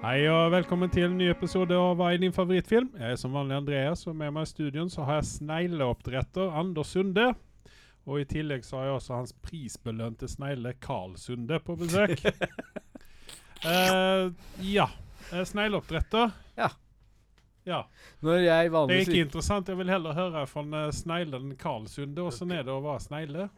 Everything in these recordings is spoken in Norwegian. Hei og velkommen til en ny episode av Hva er din favorittfilm? Jeg er som vanlig Andreas, og med meg i studioen så har jeg snegleoppdretter Anders Sunde. Og i tillegg så har jeg også hans prisbelønte snegle Carl Sunde på besøk. Eh, ja. Eh, Snegleoppdretter. Ja. Ja. Når jeg Det er vanligvis ikke interessant. Jeg vil heller høre fra eh, sneglen Carl Sunde. Åssen er det å være snegle?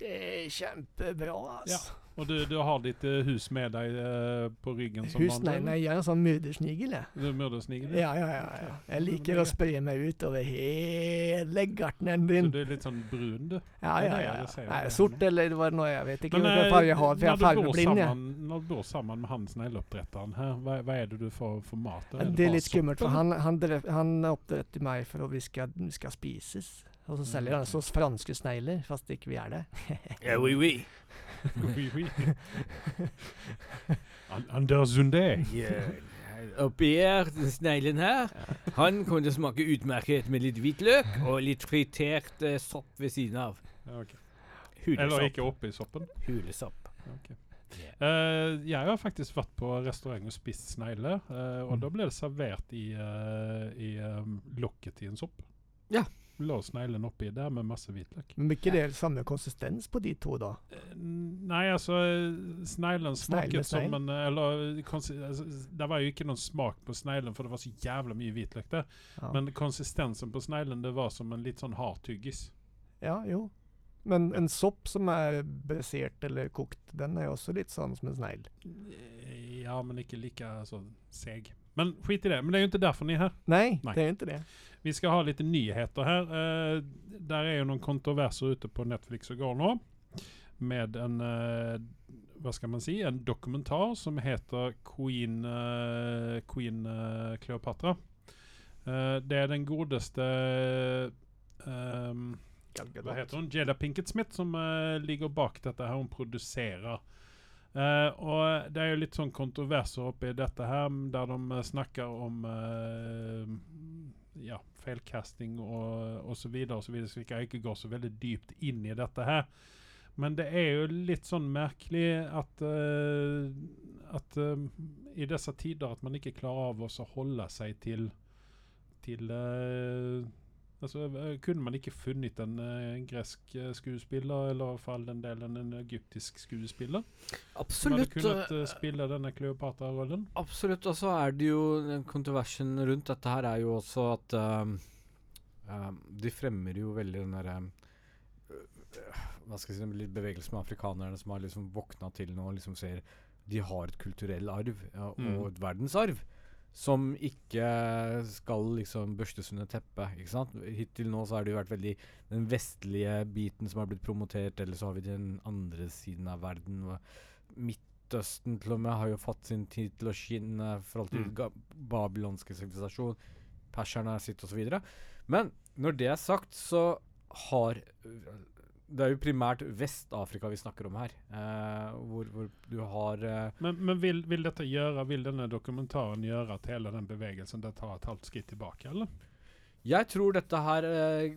Det er kjempebra, ass. Ja. Og du, du har ditt eh, hus med deg eh, på ryggen som Husk, nei, nei, jeg er en sånn murdersnigel, jeg. Du er murdersnigel? Ja, ja, ja, ja. Jeg liker å spre meg ut over hele gartneren Så din. du er litt sånn brun, du? Ja, det er ja, det ja. jeg sier. Nei, sort eller hva det nå er, jeg vet ikke Men, hvilken eh, farge jeg har, for når jeg er du bor fargeblind. jeg. sammen- Når du bor sammen med han snegleoppdretteren her, hva, hva er det du får for mat? da? Det er bare litt skummelt, for sopp, han, han, drev, han oppdretter meg for at vi skal, vi skal spises. Og så selger Mm, han oss franske snegler, fast ikke vi er det. Ja, oui, oui. eller? Oui, oui. An- Anders Sunde. Oppi her, den sneglen her, han kunne smake utmerket med litt hvitløk og litt fritert eh, sopp ved siden av. Ja, ok. Eller Hulesopp. ikke oppe i soppen. Hulesopp. Eh, jeg har faktisk vært på restaurant og spist snegle, eh, og da ble det servert i, eh, i em, lokket i en sopp. Ja. Lå sneglen oppi der med masse hvitløk. Men blir ikke det samme konsistens på de to, da? Eh, Nei, altså eh, Sneglen smaket Snegle med som snegl? en eh, Eller eh, konsi- altså, s- Det var jo ikke noen smak på sneglen, for det var så jævla mye hvitløk der. Ja. Men konsistensen på sneglen det var som en litt sånn hard tyggis. Ja, jo. Men en sopp som er bressert eller kokt, den er jo også litt sånn som en snegl. Eh, Ja, men ikke like så seg. Men skit i det. Men det er jo ikke derfor ni er her. Nei, Nei. det er jo ikke det. Vi skal ha litt nyheter her. Eh, der er jo noen kontroverser ute på Netflix og går nå. Med en eh, Hva skal man si? En dokumentar som heter Queen, eh, Queen eh, Cleopatra. Eh, det er den godeste ehm, hva heter hun? Jada Pinkett Smith, som eh, ligger bak dette her. Hun produserer. Eh, og det er jo litt sånn kontroverser oppi dette her, m, der de eh, snakker om eh, ja, feilcasting og, og så videre og så videre. Så vi kan ikke gå så veldig dypt inn i dette her. Men det er jo litt sånn merkelig at eh, at eh, i disse tider at man ikke klarer av å så holde seg til til eh, Altså, eh, kunne man ikke funnet en, eh, en gresk eh, skuespiller, eller for all den delen en egyptisk skuespiller, som hadde Absolutt. kunnet eh, eh, spille denne Kleopatra-rollen? Absolutt. Og så er det jo den kontroversen rundt dette her er jo også at um, um, de fremmer jo veldig den derre øh, Hva skal jeg si den litt bevegelsen med afrikanerne som har liksom våkna til nå og liksom ser De har et kulturell arv ja, Mm. og et verdensarv. Som ikke skal liksom børstes under teppet. ikke sant? Hittil nå så har det jo vært veldig den vestlige biten som har blitt promotert, eller så har vi den andre siden av verden. hva- Midtøsten til og med har jo fått sin tid til å skinne i forhold til Mm. ga- babylonske sivilisasjon, perserne sitt osv. Men når det er sagt, så har Det er jo primært Vest-Afrika vi snakker om her, eh, hvor, hvor du har eh, Men, men vil, vil dette gjøre, vil denne dokumentaren gjøre at hele den bevegelsen det tar et halvt skritt tilbake, eller? Jeg tror dette her eh,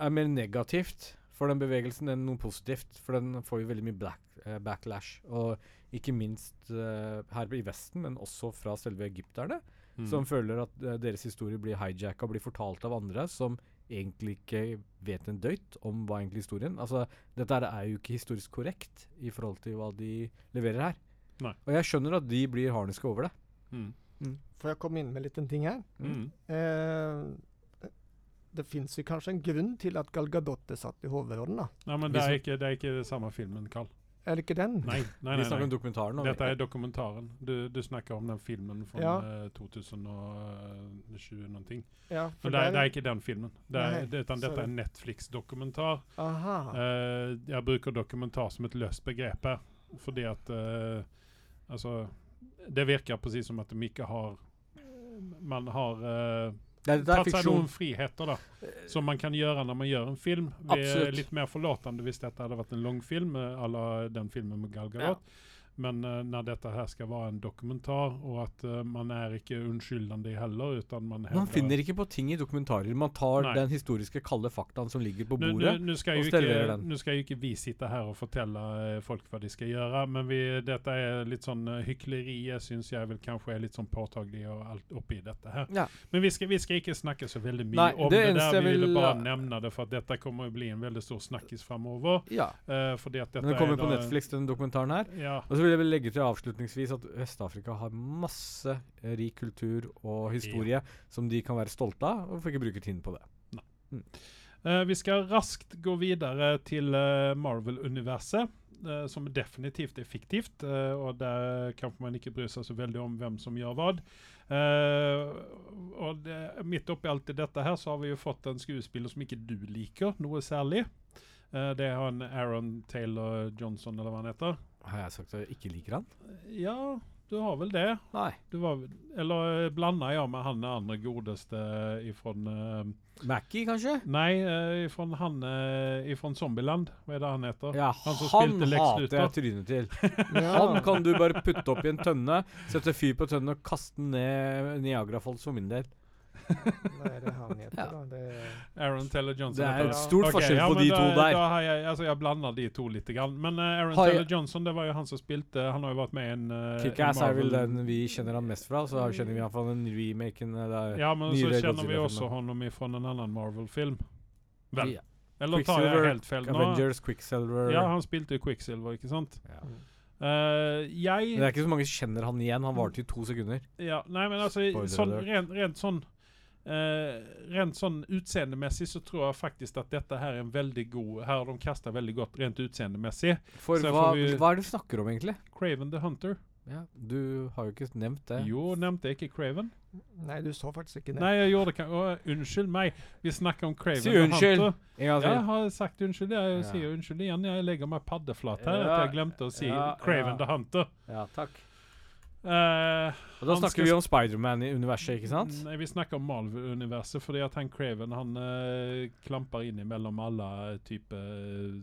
er mer negativt for den bevegelsen enn noe positivt. For den får jo veldig mye black, eh, backlash. Og ikke minst eh, her i Vesten, men også fra selve egypterne, Mm. som føler at eh, deres historie blir hijacka og blir fortalt av andre som egentlig ikke vet en døyt om hva egentlig historien Altså, dette her er jo ikke historisk korrekt i forhold til hva de leverer her. Nei. Og jeg skjønner at de blir harniska over det. Mm. Får jeg komme inn med en liten ting her? Mm. Eh, det fins jo kanskje en grunn til at Gal Gadot er satt i hovedrollen, da. Nei, men det er ikke, det er ikke det samme filmen, Carl. Er det ikke den? Nei, nei, Vi nei. snakker om nei. dokumentaren. og- Dette er dokumentaren. Du, du snakker om den filmen fra Ja. eh, 2020 eh, noen ting. Ja, for Men det er, det der- er ikke den filmen. Det er, Nei, det, utan dette sorry. er en Netflix-dokumentar. Aha. Eh, jeg bruker dokumentar som et løst begrep her, fordi at eh, Altså, det virker presis som at de ikke har Man har eh, Det er, det er tatt seg fiksjon. noen friheter, da. Som man kan gjøre når man gjør en film. Vi er Absolutt. litt mer forlåtende hvis dette hadde vært en longfilm à la eh, den filmen med Gal Ja. Gadot. Men eh, när detta här ska vara en dokumentär och att eh, man är inte undskyldande heller utan man Man hävdar- finner ikke på ting i dokumentarer. Man tar Nei. den historiske kalde faktaen som ligger på nu, bordet. nu, nu, ska ju och ställer inte, den. nu ska ju inte vi sitta här och fortälla eh, folk vad de ska göra, men vi, detta är lite sån eh, hyckleri, eh, syns jag väl kanske är lite sån påtaglig och allt uppe i detta här. Ja. Men vi ska, vi ska inte snacka så väldigt mycket Nej, om det det, ens där, jag vi ville vill- bara nämna det för att detta kommer att bli en väldigt stor snackis framöver. Ja. eh, för det att detta Den kommer är på då- Netflix, den dokumentaren her. Ja, Og så vil jeg vel legge til avslutningsvis at Vest-Afrika har masse eh, rik kultur og historie som de kan være stolte av, og får ikke bruke tiden på det. Eh, vi ska raskt gå vidare till eh, Marvel-universet. eh, som definitivt är fiktivt eh, och där kanske man inte bryr sig så väldigt om vem som gör vad. Eh, och det, mitt uppe i allt i detta här så har vi ju fått en skådespelare som inte du liker, Noe särlig. Eh, det är han Aaron Taylor Johnson eller vad han heter. Har jeg sagt at jeg ikke liker han? Ja, du har väl det. Nei. Du var, eller eh, blandar jag med han andra godaste ifrån eh, Mackie, kanskje? Nej, eh, ifrån han eh, ifrån Zombieland. Vad är det han heter? Ja, Han som han spilte Lex hater Luthor. jeg trynet til. Han Ja. kan du bare putte opp i en tønne, sette fyr på tønnen og kaste den ned Niagarafalls for min del. Hva er det han heter, da? Det Aaron Taylor Johnson. Det heter er han. et stort Okej, forskjell ja, på men de då- to Då der. har jag, alltså jag blandar de två lite grann. Men eh, Aaron Har jag- Taylor Johnson, det var ju han som spilte. Han har ju varit med i en... eh, Kickass en er vel Marvel- den vi kjenner han mest fra, så kjenner vi han fra den remaken eh, der. Ja, men så känner nyere vi också Godzilla-filmen. honom ifrån en annan Marvel-film. Väl? Ja. Eller tar jag Quicksilver, helt fel? Nå- Avengers, Quicksilver Ja, han spilte ju Quicksilver, ikke sant? Ja. Eh, Men det jeg er ikke så mange som kjenner han igjen. Han varte i to sekunder. Ja, nej men alltså Spoiler sån, alert. rent, rent sån eh, rent sån utseendemässigt så tror jag faktiskt att detta här är en väldigt god, här har de kastat väldigt gott rent utseendemässigt. For Så hva, får vi- hva er det du snakker om, egentlig? Craven the Hunter. Du har jo ikke nevnt det. Jo, nämnde jag inte Craven? Nei, du så faktisk ikke det. Nej, jag gjorde kan, oh, unnskyld mig. Vi snackar om Craven Säg the unnskyld. Hunter. En gang Jag til. har sagt unnskyld, jag Ja. säger unnskyld igen när jag lägger mig paddeflat här, Ja, att jag glömde att säga ja, Craven ja. the Hunter. Ja, takk. Eh, Og da Han snakker skal- vi om Spiderman i universet, ikke sant? Nej, Mm, vi snackar om Marvel-universum för det är att han Craven, han eh, klampar in emellan alla eh, typ eh,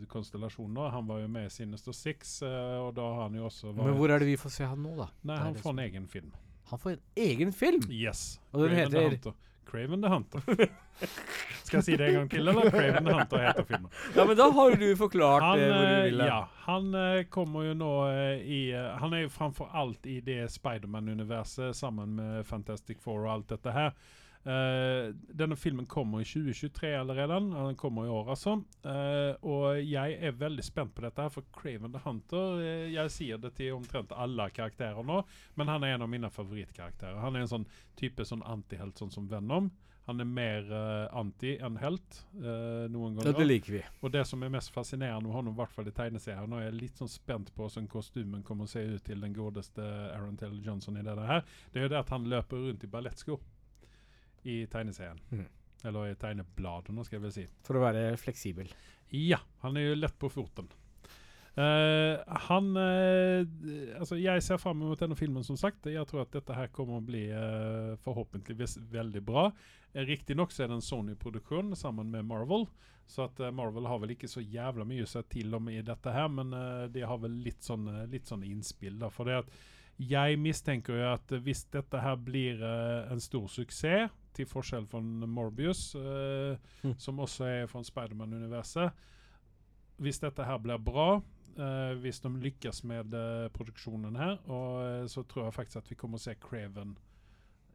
konstellationer. Han var ju med i Sinister Six eh, och då har han ju också varit... Men hvor er det vi får se han nå, da? Nej, Nej, han det är får en så. egen film. Han får en egen film! Yes. Och den Craven the heter- Hunter. Craven the Hunter. Ska jag säga det en gång till eller? Craven the Hunter heter filmen. Ja, men da har du forklart Han, det hvor du eh, ville. ja, han eh, kommer ju nå eh, i... eh, Han är ju framför allt i det Spiderman-universet samman med Fantastic Four och allt detta här. Eh, denna filmen kommer i 2023 eller redan. Den kommer i år alltså. Eh, och jag är väldigt spänd på detta här för Craven the Hunter, eh, jag ser det till omtrent alla karaktärerna. Men han är en av mina favoritkaraktärer. Han är en sån typ av sån antihelt sån som Venom. Han är mer eh, anti än helt eh, någon gång. Ja, det liker vi. Och det som är mest fascinerande med honom, i vart fall i tegneserien, och jag är lite som spänt sånn på hur kostymen kommer att se ut till den godaste Aaron Taylor Johnson i det här. Det är ju det att han löper runt i ballettskor i tegneserien. Mm. Eller i tegnebladen ska jag väl säga. For å være fleksibel. Ja, han är ju lätt på foten. Eh, han, eh, d- alltså jag ser fram emot den här filmen som sagt. Jag tror att detta här kommer att bli eh, förhoppningsvis väldigt bra. Eh, Riktigt nog så är det en Sony-produktion samman med Marvel. Så att eh, Marvel har väl inte så jävla mycket att säga till om i detta här. Men eh, det har väl lite sån, eh, lite sån inspill där. För det att jag misstänker ju att eh, visst detta här blir eh, en stor succé. Till forskel från Morbius. eh, Mm. Som också är från Spiderman-universet. Visst detta här blir bra. eh, visst de lyckas med eh, produktionen här. Och eh, så tror jag faktiskt att vi kommer att se Craven.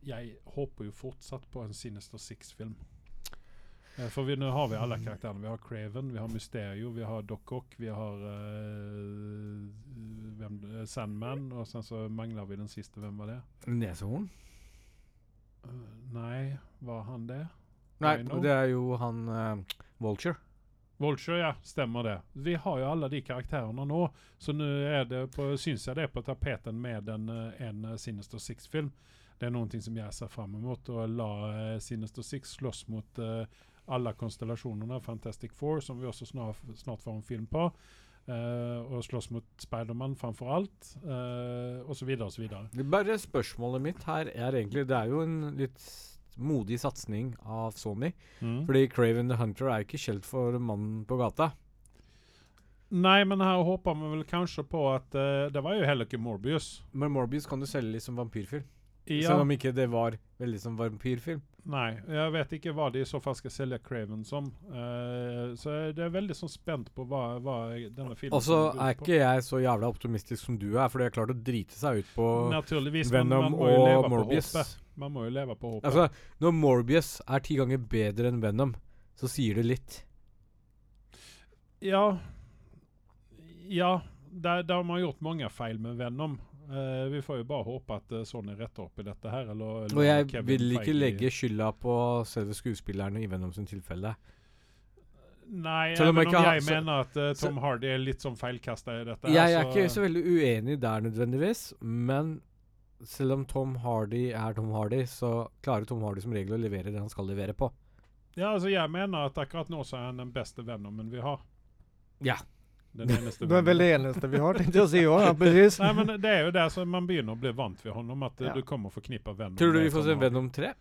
Jag hoppas ju fortsatt på en Sinister Six-film. Eh, För vi, nu har vi alla karaktärer. Vi har Craven, vi har Mysterio, vi har Doc Ock, vi har eh, vem, eh, Sandman och sen så manglar vi den sista. Vem var det? Neshorn? Eh, nej, var han det? Nei, Rhino? det er jo han eh, Vulture. Vulture ja, stämmer det. Vi har ju alla de karaktärerna nu. Så nu är det på, syns jag det på tapeten med en, eh, en eh, Sinister Six-film. Det är någonting som jag ser fram emot och la eh, Sinister Six slåss mot eh, alla konstellationerna, Fantastic Four som vi också snart, snart får en film på. Eh, och slåss mot Spiderman framför allt. Eh, och så vidare och så vidare. Det er Bare spørsmålet mitt her er egentlig Det er jo en litt modig satsing av Sony. Mm. Fordi Craven the Hunter er jo ikke skjelt for mannen på gata. Nei, men her håper vi vel kanskje på at eh, Det var jo heller ikke Morbius. Men Morbius kan du selge litt som vampyrfilm. Ja, Selv om ikke det var veldig som vampyrfilm. nei, jeg vet ikke hva de i så fall skal selge Craven som. Eh, så jeg- det er veldig sånn spent på hva, hva denne filmen Og går så Altså, er ut på. ikke jeg så jævla optimistisk som du er, for de har klart å drite seg ut på Naturligvis. men Venom man må jo og leve Morbius. på håpet. Man må jo leve på håpet. Altså, når Morbius er ti ganger bedre enn Venom, så sier det litt. Ja. Ja. Der, der har man gjort mange feil med Venom. Eh, vi får jo bare håpe at eh, Sony retter opp i dette her. Eller, eller Og jeg Kevin vil ikke Feige- legge skylda på selve skuespillerne i Venom sin tilfelle. Nei, Selv selv om om jeg jeg, ikke har- så- mener at eh, Tom Hardy er litt sånn feilkasta i dette. her, Jeg er ikke så veldig uenig der nødvendigvis, men selv om Tom Hardy er Tom Hardy, så klarer Tom Hardy som regel å levere det han skal levere på. Ja, altså Jeg mener at akkurat nå så er han den beste Venomen vi har. Ja. Den eneste Det er vel Venomen. det eneste vi har, tenkte jeg å si òg. Ja, precis. Nei, men Det er jo der som man begynner å bli vant ved ham, at eh, Ja. du kommer å forknippe Venom Tror du med vi får Tom se Hardy. Venom 3?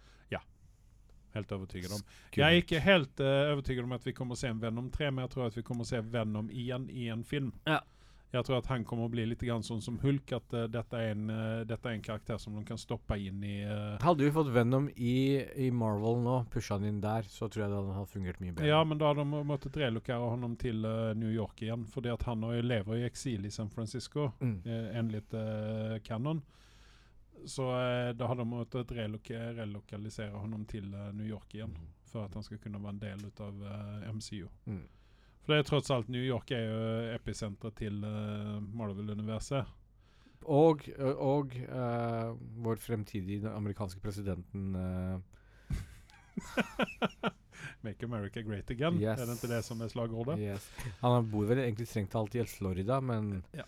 Helt overbevist om. Jeg er ikke helt eh, overbevist om at vi kommer å se en Venom 3, men jeg tror at vi kommer å se Venom igjen i en film. Ja. Jeg tror at han kommer å bli litt grann sånn som Hulk, at eh, dette, er en, eh, dette er en karakter som de kan stoppe inn i eh, Hadde vi fått Venom i, i Marvel nå, pusha han inn der, så tror jeg det hadde fungert mye bedre. Ja, men da har de måttet relokere honom til eh, New York igjen, fordi at han har jo lever i eksil i San Francisco, Mm. uh, enligt eh, Canon. Så eh, da har de måttet reloke relokalisere honom til eh, New York igjen, for at han skal kunne være en del av eh, MCU. Mm. For det er tross alt New York er jo episenteret til eh, Marvel-universet. Og, og eh, vår fremtidige amerikanske presidenten eh, Make America Great Again, Yes. er det ikke det som er slagordet? yes. Han bor vel egentlig strengt talt i Florida, men Ja.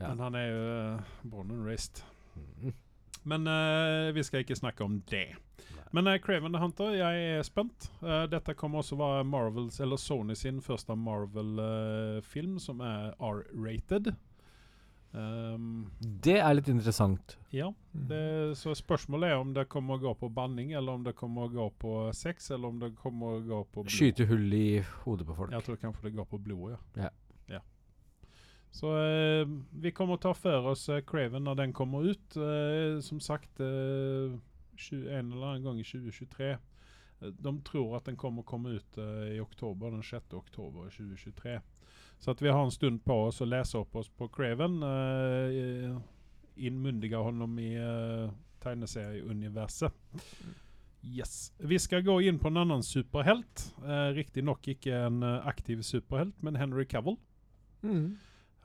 Men han er jo eh, born and raised. mm. Men eh, vi skal ikke snakke om det. Men uh, Craven the Hunter, jeg er spent. Eh, dette kommer også være Marvels, eller Sony sin første Marvel-film som er R-rated. Ehm, Det er litt interessant. ja, det, så spørsmålet er om det kommer å gå på banning, eller om det kommer å gå på sex, eller om det kommer å gå på blod. Skyte hull i hodet på folk. Jeg tror kanskje det går på blodet, Ja. ja. Så eh, vi kommer å ta for oss eh, Craven når den kommer ut. Eh, som sagt, eh, 20, en eller annen gang i 2023. Eh, De tror at den kommer å komme ut eh, i oktober, den 6. oktober i 2023. Så at vi har en stund på oss å lese opp oss på Craven. Uh, Innmundige honom i eh, tegneserieuniverset. Yes. Vi skal gå inn på en annen superhelt. Eh, Riktignok ikke en eh, aktiv superhelt, men Henry Cavill. Mm.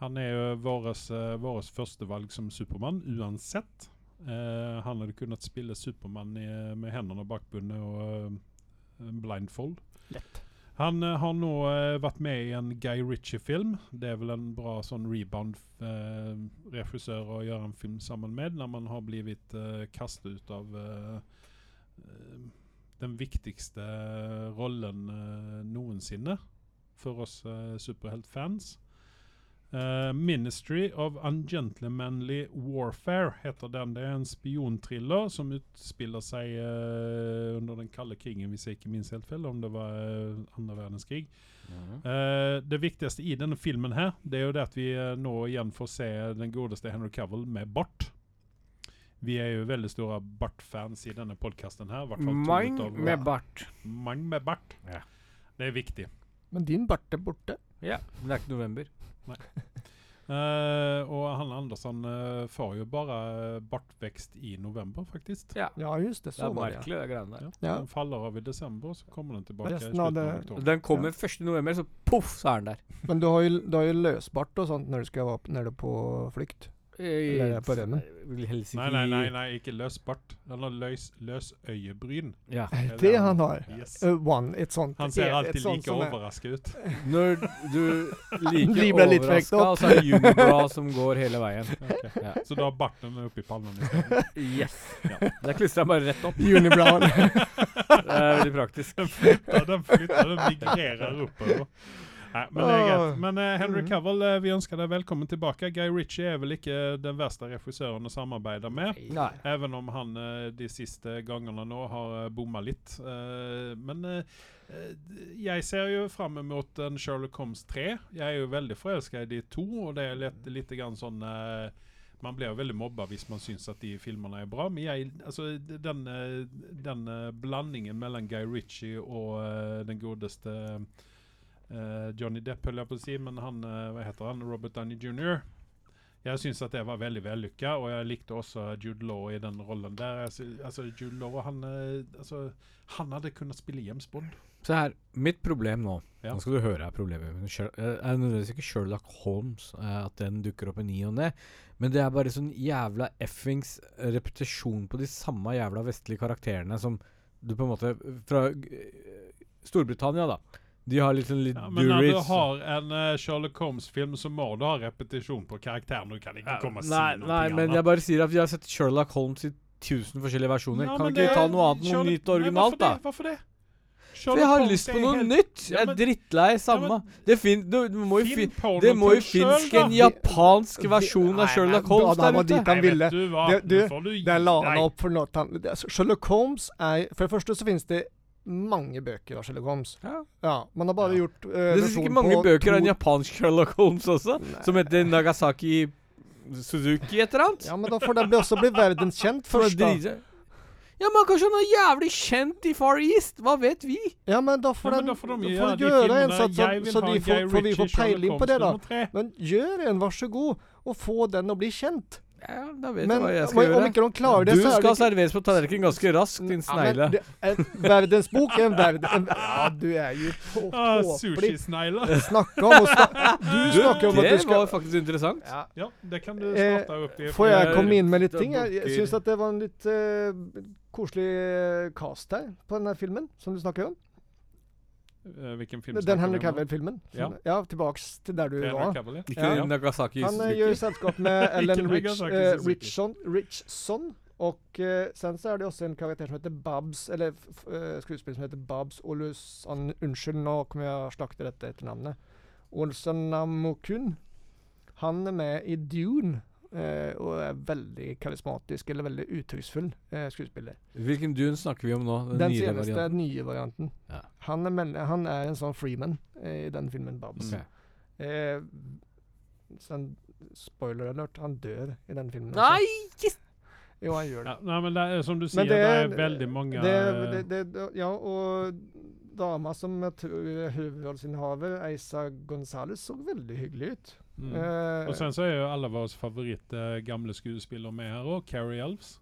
Han er jo våres, eh, våres førstevalg som Supermann, uansett. Eh, han hadde kunnet spille Supermann i- eh, med hendene bakbundet og eh, blindfold. Lett. Han eh, har nå eh, vært med i en Guy Ritchie-film. Det er vel en bra sånn rebound-regissør å gjøre en film sammen med, når man har blitt eh, kastet ut av eh, eh, den viktigste rollen eh, noensinne for oss eh, superheltfans. Eh, 'Ministry of Ungentlemanly Warfare' heter den. Det er en spionthriller som utspiller seg eh, under den kalde krigen, hvis jeg ikke minst helt feil, om det var eh, andre verdenskrig. Eh, det viktigste i denne filmen her, det er jo det at vi eh, nå igjen får se den godeste Henry Cavill med bart. Vi er jo veldig store bart-fans i denne podkasten her. i hvert fall to Mang utav- med bart. Mang med bart. Ja. Det er viktig. Men din bart er borte. Ja, men det er ikke november. Eh, og Hanne Andersson eh, får jo bare eh, bartvekst i november, faktisk. Ja, Ja, just det. Det Så er Sånn var det. merkelig, det greiene der. Ja. Ja. Den faller av i desember, så kommer den tilbake i Resten slutten av av det- oktober. Den kommer 1. november, så poff, så er den der. ja. Men du har jo, du har jo løsbart og sånt når du skal opp nede på flukt. Eller er det på rømmen? Vil helst ikke Nei, nei, nei, nei, ikke løs bart. Den har løs, løs øyebryn. Ja. er Det det han- han har. Yes. Uh, one, et sånt Han ser et alltid sånt like som er- overraska ut. Når du liker De ble litt frekt overraska, opp. så er det unibrow som går hele veien. Ok. Ja. Så da bart den oppi pallen isteden. Yes. Ja. Der klistra jeg bare rett opp. Unibrow. Det er veldig praktisk. Den flytter, den flytter, den migrerer oppover. Nei, men det er greit. Men eh, Henry Mm. Mhm. Cavill, eh, vi ønsker deg velkommen tilbake. Guy Ritchie er vel ikke den verste regissøren å samarbeide med. Nei. Even om han eh, de siste gangene nå har eh, bomma litt. Eh, men eh, eh, Jeg ser jo fram mot en Sherlock Holmes 3. Jeg er jo veldig forelska i de to, og det er litt, litt grann sånn eh, Man blir jo veldig mobba hvis man syns at de filmene er bra, men jeg, altså, d- den, eh, den eh, blandingen mellom Guy Ritchie og eh, den godeste eh, Johnny Depp, holdt jeg på å si, men han, eh, hva heter han, Robert Downey jr. Jeg syns at det var veldig vellykka, og jeg likte også Jude Law i den rollen der. Jeg sy- Altså, Jude Law, han eh, altså, han hadde kunnet spille James Bond. Se her, mitt problem nå Ja. Nå skal du høre her problemet mitt. Sher- eh, Det er nødvendigvis ikke Sherlock Holmes eh, at den dukker opp i ny og ne, men det er bare sånn jævla effings repetisjon på de samme jævla vestlige karakterene som du på en måte Fra eh, Storbritannia, da. De har litt sånn litt Ja, men når du Duritz- har en eh, Sherlock Holmes-film, så må du ha repetisjon på karakteren. Du kan ikke Ja, komme og si nei, noe nei, men jeg annet. bare sier at vi har sett Sherlock Holmes i tusen forskjellige versjoner. Ja, kan men ikke det- vi ta noe annet, noe Sherlock- nytt Nei, og originalt, da? hvorfor det? Hvorfor det? For Sherlock jeg har Holmes lyst er på noe helt- nytt! Ja, Jeg er men- drittlei samme. men- det, fin, du, du må jo fin, Finn på noe det må jo til selv, finnes en da. japansk Vi- versjon Nei, av nei, Sherlock da- Holmes da der var ute. dit han Nei, vet ville. Du, hva? Det- Nå du, får du gi Der la deg. han opp for noe han- det er- Sherlock Holmes er For det første så finnes det mange bøker av Sherlock Holmes. Ja. Ja, Man har bare Ja. gjort eh, Det finnes versjon ikke mange på bøker av en to- japansk Sherlock Holmes også, Nei. som heter Nagasaki Suzuki et eller annet. Ja, men da får det bli også bli verdenskjent Som er først, da. drit- Ja, men kanskje han er jævlig kjent i Far East? Hva vet vi? Ja, men da Ja, får, men den, da får de får gjøre du de gjøre en filmene. sånn, så, Jeg vil så ha vi Guy får, får, vi Ritchie, får peiling Sherlock på det, da. Holmes nummer tre. Men gjør en, vær så god, og få den å bli kjent. Ja, da vet jeg Men hva jeg om skal gjøre. om ikke noen klarer det, du så er skal det serveres på tallerken ganske raskt, din Ja, men snegle. det- En verdensbok er en verden... En, ja, du er jo tå- Ah, tåpelig. Sushisnegler. Snakke om å snak- Du snakker om at det du skal var faktisk interessant. ja. Ja, det kan du Eh, starte opp i. Får jeg jeg- komme inn med litt da ting? Jeg, jeg bukker- syns at det var en litt eh, koselig eh, cast her på denne filmen som du snakker om. Eh, Hvilken film Den vi Henry om nå? Cavill-filmen. Ja. Som- Ja, tilbake til der du Henry var. Cavill, ja. Ikke Ja. Nagasaki Han eh, Suzuki. gjør selskap med Ellen Ikke Rich, altså, Nagasaki eh, Suzuki. Richson, Richson. Og eh, sen så er det også en karakter som heter Babs, eller f- f- eh, skuespiller som heter Babs Olusan... Unnskyld, nå kommer jeg å slakte dette etternavnet. Olsenamokun. Han er med i Dune. eh, og er veldig karismatisk, eller veldig uttrykksfull eh, skuespiller. Hvilken dun snakker vi om nå? Den, Den nyere seneste varianten? nye varianten. Ja. Han, er, men- han er en sånn freeman eh, i den filmen, Babs. Ok. Eh, sen, spoiler alert, han dør i den filmen. også. Nei! Jo, han gjør det. Ja, nei, men det er, som du sier, Men det er, det er- veldig mange det, det, det, det ja, og dama som jeg tror er hovedrollsinnehaver, Eisa Gonzales, så veldig hyggelig ut. mm. Eh, Og sen så er jo alle våre favoritt eh, gamle skuespillere med her òg, Carrie Elves.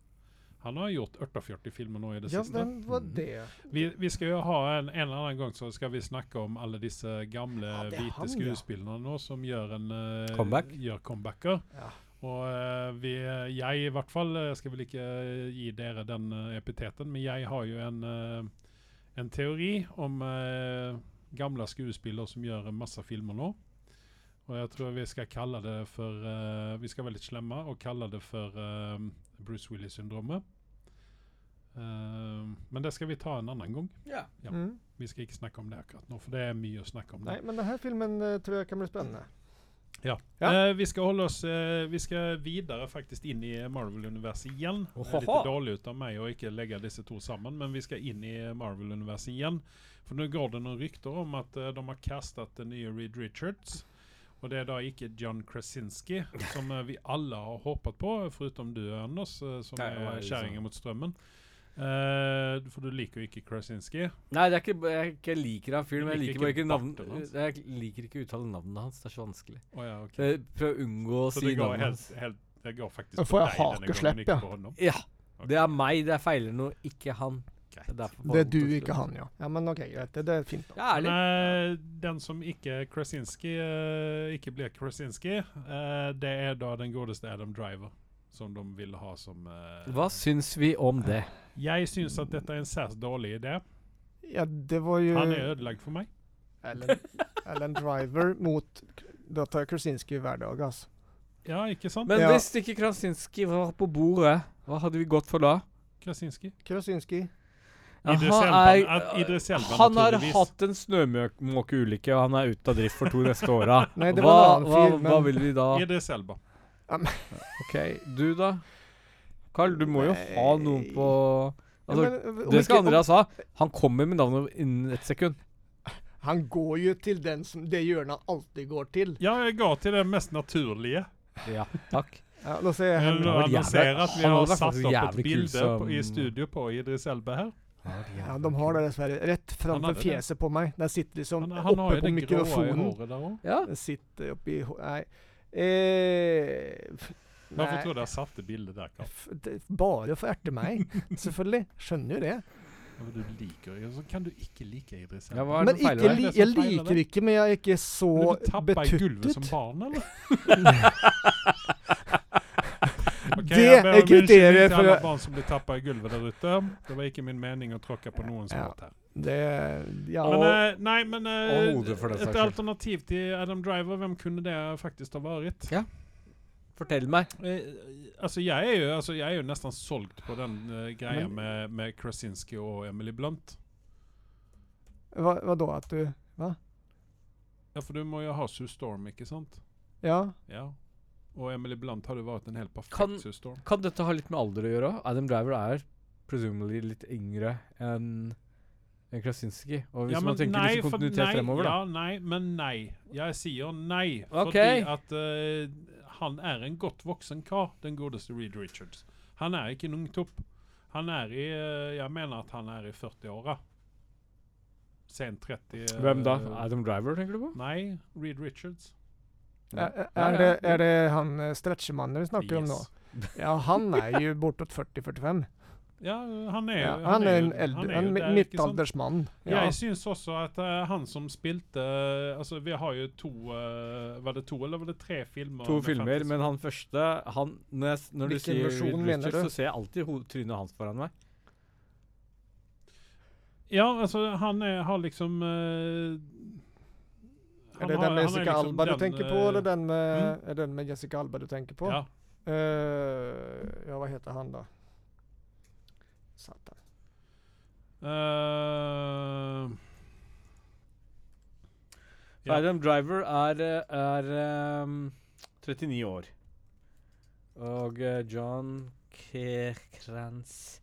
Han har gjort 48 filmer nå i det ja, siste. hvem var Mm. det? Vi, vi skal jo ha en, en eller annen gang så skal vi snakke om alle disse gamle Ja, det er hvite han, ja. skuespillerne nå som gjør en eh, Comeback? Gjør comebacker. Ja. Og eh, vi, jeg i hvert fall eh, skal vel ikke gi dere den eh, epiteten, men jeg har jo en, eh, en teori om eh, gamle skuespillere som gjør masse filmer nå. Og jeg tror vi skal kalle det for eh, Vi skal være litt slemme og kalle det for eh, Bruce Willis-syndromet. Eh, men det skal vi ta en annen gang. Ja. Mm. Vi skal ikke snakke om det akkurat nå, for det er mye å snakke om. Nei, det. men denne filmen eh, tror jeg kan bli spennende. Ja. Eh, vi skal holde oss eh, Vi skal videre faktisk inn i Marvel-universet igjen. Det er litt Ohoho. dårlig ut av meg å ikke legge disse to sammen, men vi skal inn i Marvel-universet igjen. For nå går det noen rykter om at eh, de har kastet den nye Reed Richards. Og det er da ikke John Krasinski, som eh, vi alle har håpet på, foruten du, Anders, eh, som Nei, er jeg er liksom- kjerringa mot strømmen. Eh, for du liker jo ikke Krasinski. Nei, det er ikke, jeg, er ikke- jeg liker han fyren, men jeg Du liker liker bare ikke ikke navn... barten hans? Jeg liker ikke å uttale navnet hans. Det er så vanskelig. Å ja, ok. Jeg prøver å unngå å Så Eh, si det går, navnet helt, hans. helt, det går faktisk Da får jeg deg denne gangen, hakeslepp, ikke ja. på honom. Ja. Ok. Det er meg. Det er feiler noe, ikke han. Det er, derfor Mm. Det er bare- du, ikke han, ja. Ja, Men OK, greit. Det, det er fint. Ja, Men, ærlig. eh, den som ikke er Krasinski, eh, ikke blir Krasinski, eh, det er da den godeste Adam Driver. Som de vil ha som eh, Hva syns vi om det? Jeg syns at dette er en særs dårlig idé. Ja, det var jo Han er ødelagt for meg. Alan, Alan Driver mot Da tar jeg Krasinski hver dag, altså. Ja, ikke sant? Men Ja. hvis ikke Krasinski var på bordet, hva hadde vi gått for da? Krasinski. Krasinski. Ja, Idris han Elba- er- at Idris Elba, Han har naturligvis. hatt en snømåkeulykke, og han er ute av drift for to neste åra. Nei, det Hva, var en annen hva, fyr, men- hva vil vi da? Idris Elba. OK, du da? Carl, du må jo ha noen på Altså, men, om det skal ikke- om- Andreas ha. Han kommer med navnet innen ett sekund. Han går jo til den som det hjørnet han alltid går til. Ja, jeg går til det mest naturlige. Ja, takk. Ja, nå ser jeg Jeg Henrik. vil var jævla- annonsere at vi han har var satt faktisk opp et jævlig kul bilde på, som- i studio på Idris Elba her. Ja, de har det dessverre. Rett Han framfor hadde det. fjeset på meg. Den sitter liksom Han, han har oppe jo på det grå i mikrofonen. håret der òg. Ja. Den sitter oppi hå- Nei. Eh, f- Hvorfor nei. tror du jeg satte bildet der, Karl? F- det- Bare for å erte meg, selvfølgelig. Skjønner jo det. Ja, men Du liker jo Så kan du ikke like Idris Ja, Elba. hva er det Men som feiler ikke, deg? Det li, er jeg som feiler liker deg. ikke, men jeg er ikke så Ble du tappa i gulvet som betuttet. barn, eller? Ok, Det jeg ber om er kriteriet unnskyldning til for alle å- barn som blir tappa i gulvet der ute. Det var ikke min mening å tråkke på noen som Ja. her. Det Ja. Men, og- eh, nei, men eh, og hodet, for den et saks skyld. alternativ til Adam Driver, hvem kunne det faktisk ha vært? Fortell meg. Eh, altså, jeg er jo, altså, jeg er jo nesten solgt på den eh, greia Men- med, med Krasinski og Emily Blunt. hva, hva da at du Ja, for du må jo ha Sue Storm, ikke sant? Ja. Ja. Og Emily Blunt hadde vært en helt perfekt Kan- Sue Storm. Kan dette ha litt med alder å gjøre òg? Adam Driver er presumably litt yngre enn enn Krasinski. Og hvis Ja, man men tenker litt for- kontinuitet nei, fremover, da. Ja, nei, men nei. Jeg sier nei. Ok. Fordi at eh, han er en godt voksen kar, den godeste Reed Richards. Han er ikke en ungtopp. Han er i eh, Jeg mener at han er i 40-åra. Sent 30 eh, Hvem da? Adam Driver, tenker du på? Nei, Reed Richards. Er, Ja, er, ja. det, er det han eh, stretchemannen vi snakker om nå? Yes. Ja, han er jo bortåt 40-45. Ja, han er, Ja, han er en, jo- eldre, han er jo en der, ikke sant? midtaldersmann. Ja. Jeg syns også at eh, han som spilte eh, Altså, vi har jo to eh, Var det to, eller var det tre filmer? To med filmer, Fantasy? men han første han, Når, jeg, s- når du Hvilken sier versjon Reed mener Richards, så du? ser jeg alltid ho trynet hans foran meg. Ja, altså, han er, har liksom eh, har- Er det den med han Jessica liksom Alba du den, tenker på, eh, eller den med, er den med Jessica Alba du tenker på? Ja. Eh, ja, hva heter han da? Satan. Eh, For Ja. Adam Driver er, eh, er ehm, 39 år. Og eh, John Kerkrans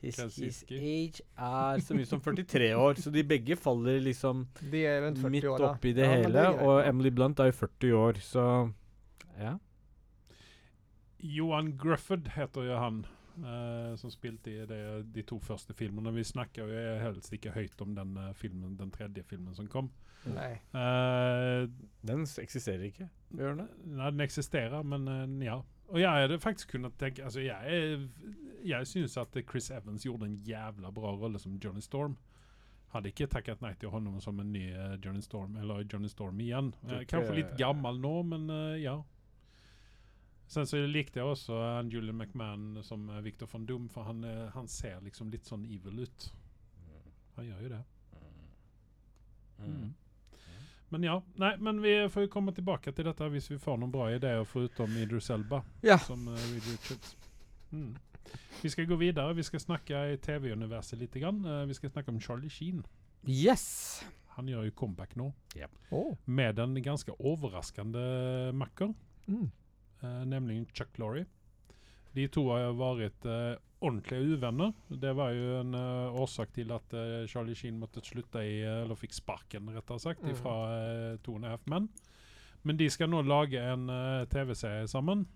His, his Krasinski. age er så mye som 43 år, så de begge faller liksom De er rundt 40 midt år, da. oppi det Ja, men hele. er greit, og da. Emily Blunt er jo 40 år, så ja. Johan Grufford heter jo han. eh, som spilte i det, de to første filmene. Vi snakker jo helst ikke høyt om den eh, filmen, den tredje filmen som kom. Nei. Eh, Den s- eksisterer ikke, gjør den det? Nei, den eksisterer, men eh, ja. Og jeg hadde faktisk kunnet tenke Altså, jeg, er- jeg syns at Chris Evans gjorde en jævla bra rolle som Johnny Storm. Hadde ikke takket nei til honom som en ny eh, Johnny Storm, eller Johnny Storm igjen. Eh, Tycker- kanskje litt gammel nå, men eh, ja. Sen så likte jeg også eh, han Julian McMahon som eh, Victor von Doom, for han, eh, han ser liksom litt sånn evil ut. Han gjør jo det. Mm. Men ja. Nei, men vi får jo komme tilbake til dette hvis vi får noen bra ideer, foruten Idris Elba. Ja. Som eh, Reed Richards. Mm. Vi skal gå videre. Vi skal snakke i TV-universet litt. Grann. Eh, vi skal snakke om Charlie Sheen. Yes! Han gjør jo comeback nå Åh. med en ganske overraskende makker, Mm. eh, nemlig Chuck Lorre. De to har jo vært eh, ordentlige uvenner. Det var jo en eh, årsak til at eh, Charlie Sheen måtte slutte i eh, Eller fikk sparken, rettere sagt, Mm. fra uh, Two and a Half Men. Men de skal nå lage en eh, TV-serie sammen.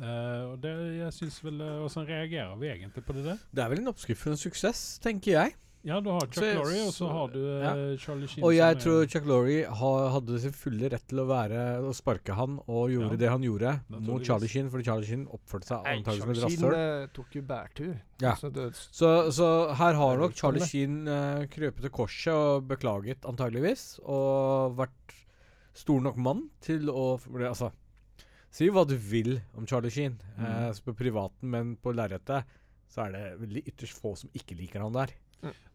Eh, og det jeg syns vel eh, Hvordan reagerer vi egentlig på det der? Det er vel en oppskrift for en suksess, tenker jeg. Ja, du har Chuck Så jeg- Lorre, og så så- har du eh, Charlie Sheen. Og jeg som er- tror Chuck Lorre ha- hadde sin fulle rett til å være Å sparke han og gjorde Ja. det han gjorde mot Naturligvis. Charlie Sheen, fordi Charlie Sheen oppførte seg Nei, antakelig som et Sharkshin, rasshøl. eh, tok jo bærtur. Ja. Så det, Så, så her har nok Velkommen. Charlie Sheen eh, krøpet til korset og beklaget, antageligvis, og vært stor nok mann til å f- bli- Altså, si hva du vil om Charlie Sheen eh, Mm. så på privaten, men på lerretet så er det veldig ytterst få som ikke liker han der.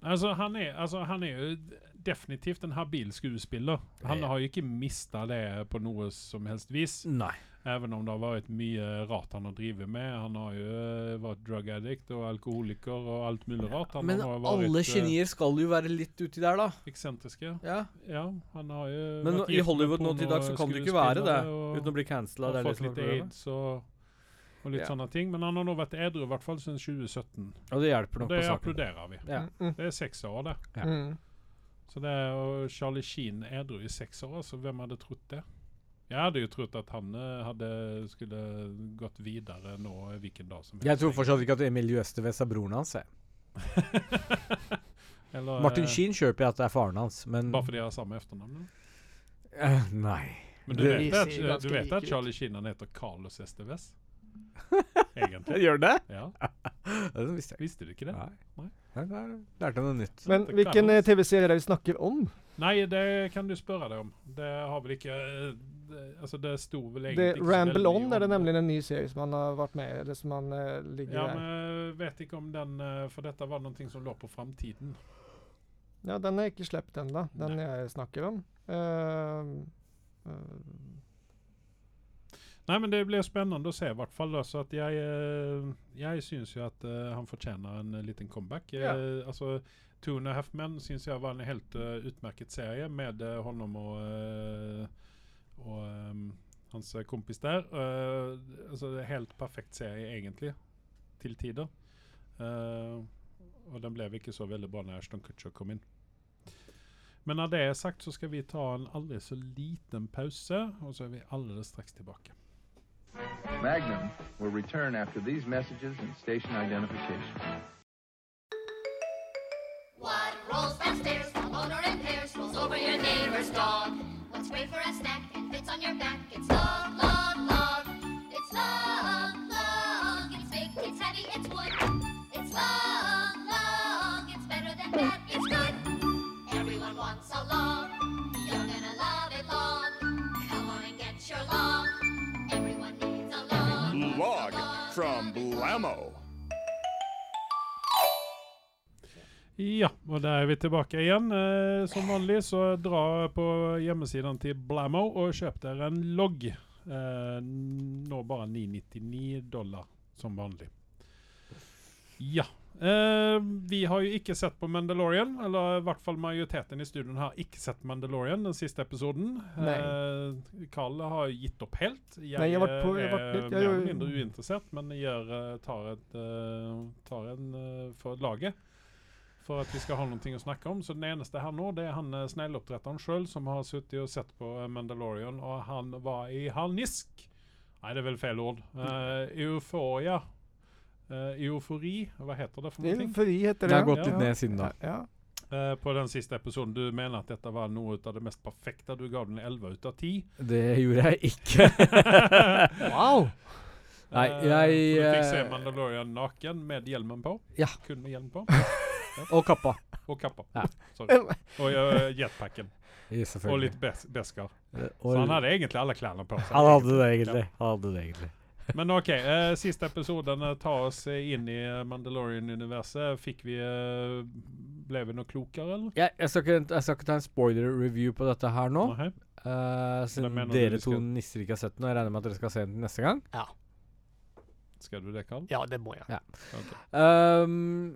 Altså, han er, altså, han er jo definitivt en habil skuespiller. Han Ja. har jo ikke mista det på noe som helst vis, Nei. even om det har vært mye rart han har drevet med. Han har jo eh, vært drug addict og alkoholiker og alt mulig rart. Han Men har vært, alle eh, genier skal jo være litt uti der, da. Eksentriske. Ja. Ja, han har jo Men vært i gift med Hollywood nå til dags så kan du ikke være det pornoskuespillere og- uten å bli cancella. og Det er det fått som er litt problemet. aids og og litt Ja. sånne ting. Men han har nå vært edru i hvert fall siden 2017. Og det Og hjelper nok det på saken. applauderer vi. Ja. Mm, Det er seks år, det. Ja. mm. Så det er jo Charlie Sheen edru i seks år, altså hvem hadde trodd det? Jeg hadde jo trodd at han eh, hadde skulle gått videre nå eh, hvilken dag som Jeg tror fortsatt ikke at Emilio Estevez er broren hans. Jeg. Eller, eh, Martin Sheen kjøper jeg at det er faren hans, men Bare fordi de har samme etternavn? Eh, Nei. Men du Det- vet, De at, ser ganske du vet like at ut. Charlie Sheen han heter Carlos Esteves? Egentlig. Gjør det? Ja, Det visste jeg ikke. Visste du ikke det? Nei. Nei. Nei, Der lærte jeg noe nytt. Men Det hvilken kan- eh, TV-serie er det vi snakker om? Nei, det kan du spørre deg om. Det har vel ikke eh, det, Altså, det sto vel egentlig Det, ikke så veldig Ramble On om er det nemlig en ny serie som han har vært med i, eller som han eh, ligger Ja, der. men jeg vet ikke om den eh, For dette var noe som lå på framtiden. Ja, den er ikke sluppet ennå, den Nei. jeg snakker om. Eh, eh, Nei, men det blir spennende å se, i hvert fall. da, Så at jeg eh, Jeg syns jo at eh, han fortjener en eh, liten comeback. Eh, Ja. altså, Two and a Half Men syns jeg var en helt eh, utmerket serie med eh, honom og eh, Og eh, hans eh, kompis der. Eh, altså, det er helt perfekt serie, egentlig, til tider. Eh, og den ble ikke så veldig bra når Ashton Kutcher kom inn. Men når det er sagt, så skal vi ta en aldri så liten pause, og så er vi allerede straks tilbake. Magnum will return after these messages and station identification. What rolls downstairs from owner and pairs rolls over your neighbor's dog. What's great for a snack and fits on your back? It's log, log, log. It's log, log. It's big, it's heavy, it's wood. It's log, log. It's better than bad, it's good. Everyone wants a log. You're gonna love it long. Come on and get your log. Everyone needs a log. Log from Blammo. Ja, og der er vi tilbake igjen. Eh, som vanlig så dra på hjemmesiden til Blammo og kjøp dere en logg. Eh, nå bare 999 dollar, som vanlig. Ja. Eh, vi har jo ikke sett på Mandalorian, eller i hvert fall majoriteten i studioen har ikke sett Mandalorian, den siste episoden. Nei. Eh, Carl har jo gitt opp helt. Jeg, Nei, jeg har vært på- eh, jeg har vært er litt- jeg mer har eller jo- mindre uinteressert, men jeg gjør, eh, tar, et, eh, tar en eh, for laget for at vi skal ha noe å snakke om. Så den eneste her nå, det er han eh, snegleoppdretteren sjøl som har sittet og sett på eh, Mandalorian, og han var i harnisk. Nei, det er vel feil ord. Mm. Eh, euforia. Eh, eufori, hva heter det for noe? ting? Inferi Det heter det. har gått Ja. litt ned siden da. Ja, ja. Eh, på den siste episoden, du mener at dette var noe av det mest perfekte. Du ga den 11 ut av 10. Det gjorde jeg ikke. Wow! Nei, Eh, for jeg, Du fikk se eh, Mandalorian naken med hjelmen på. Ja. Kun med hjelm på. Og kappa. Og kappa. Ja. Sorry. Og eh, jetpacken. Ja, Og selvfølgelig. litt bes besker. Eh, Så og- han hadde egentlig alle klærne på. seg. han hadde det egentlig. Han hadde det egentlig. Men OK. Eh, siste episoden eh, tar oss eh, inn i eh, Mandalorian-universet. Fikk vi eh, Ble vi noe klokere, eller? Jeg, jeg, skal ikke, jeg skal ikke ta en spoiler-review på dette her nå. Nei. eh, Men mener siden du dere vi to skal- nisser ikke har sett den, og jeg regner med at dere skal se den neste gang. Skal du det, Karl? Ja, det må jeg. Ehm,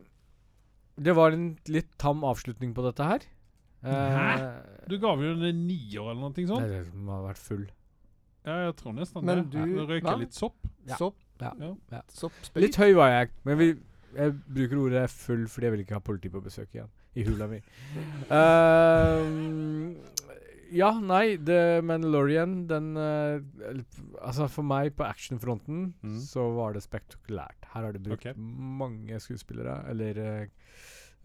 det var en litt tam avslutning på dette her. Eh, Hæ? Sånn? Du gav jo den en nier eller noe Nei, sånt. det må ha vært full. Ja, jeg tror nesten det. Men du- Du røyker hva? litt sopp. Ja. Sopp. Ja. Ja. Sopp, sprit. Litt høy var jeg, men vi, jeg bruker ordet full fordi jeg vil ikke ha politi på besøk igjen. I hula mi. Ehm, ja, nei, The Mandalorian, den eh, eller, Altså, for meg, på actionfronten, Mm. så var det spektakulært. Her har de brukt Ok. mange skuespillere, eller eh,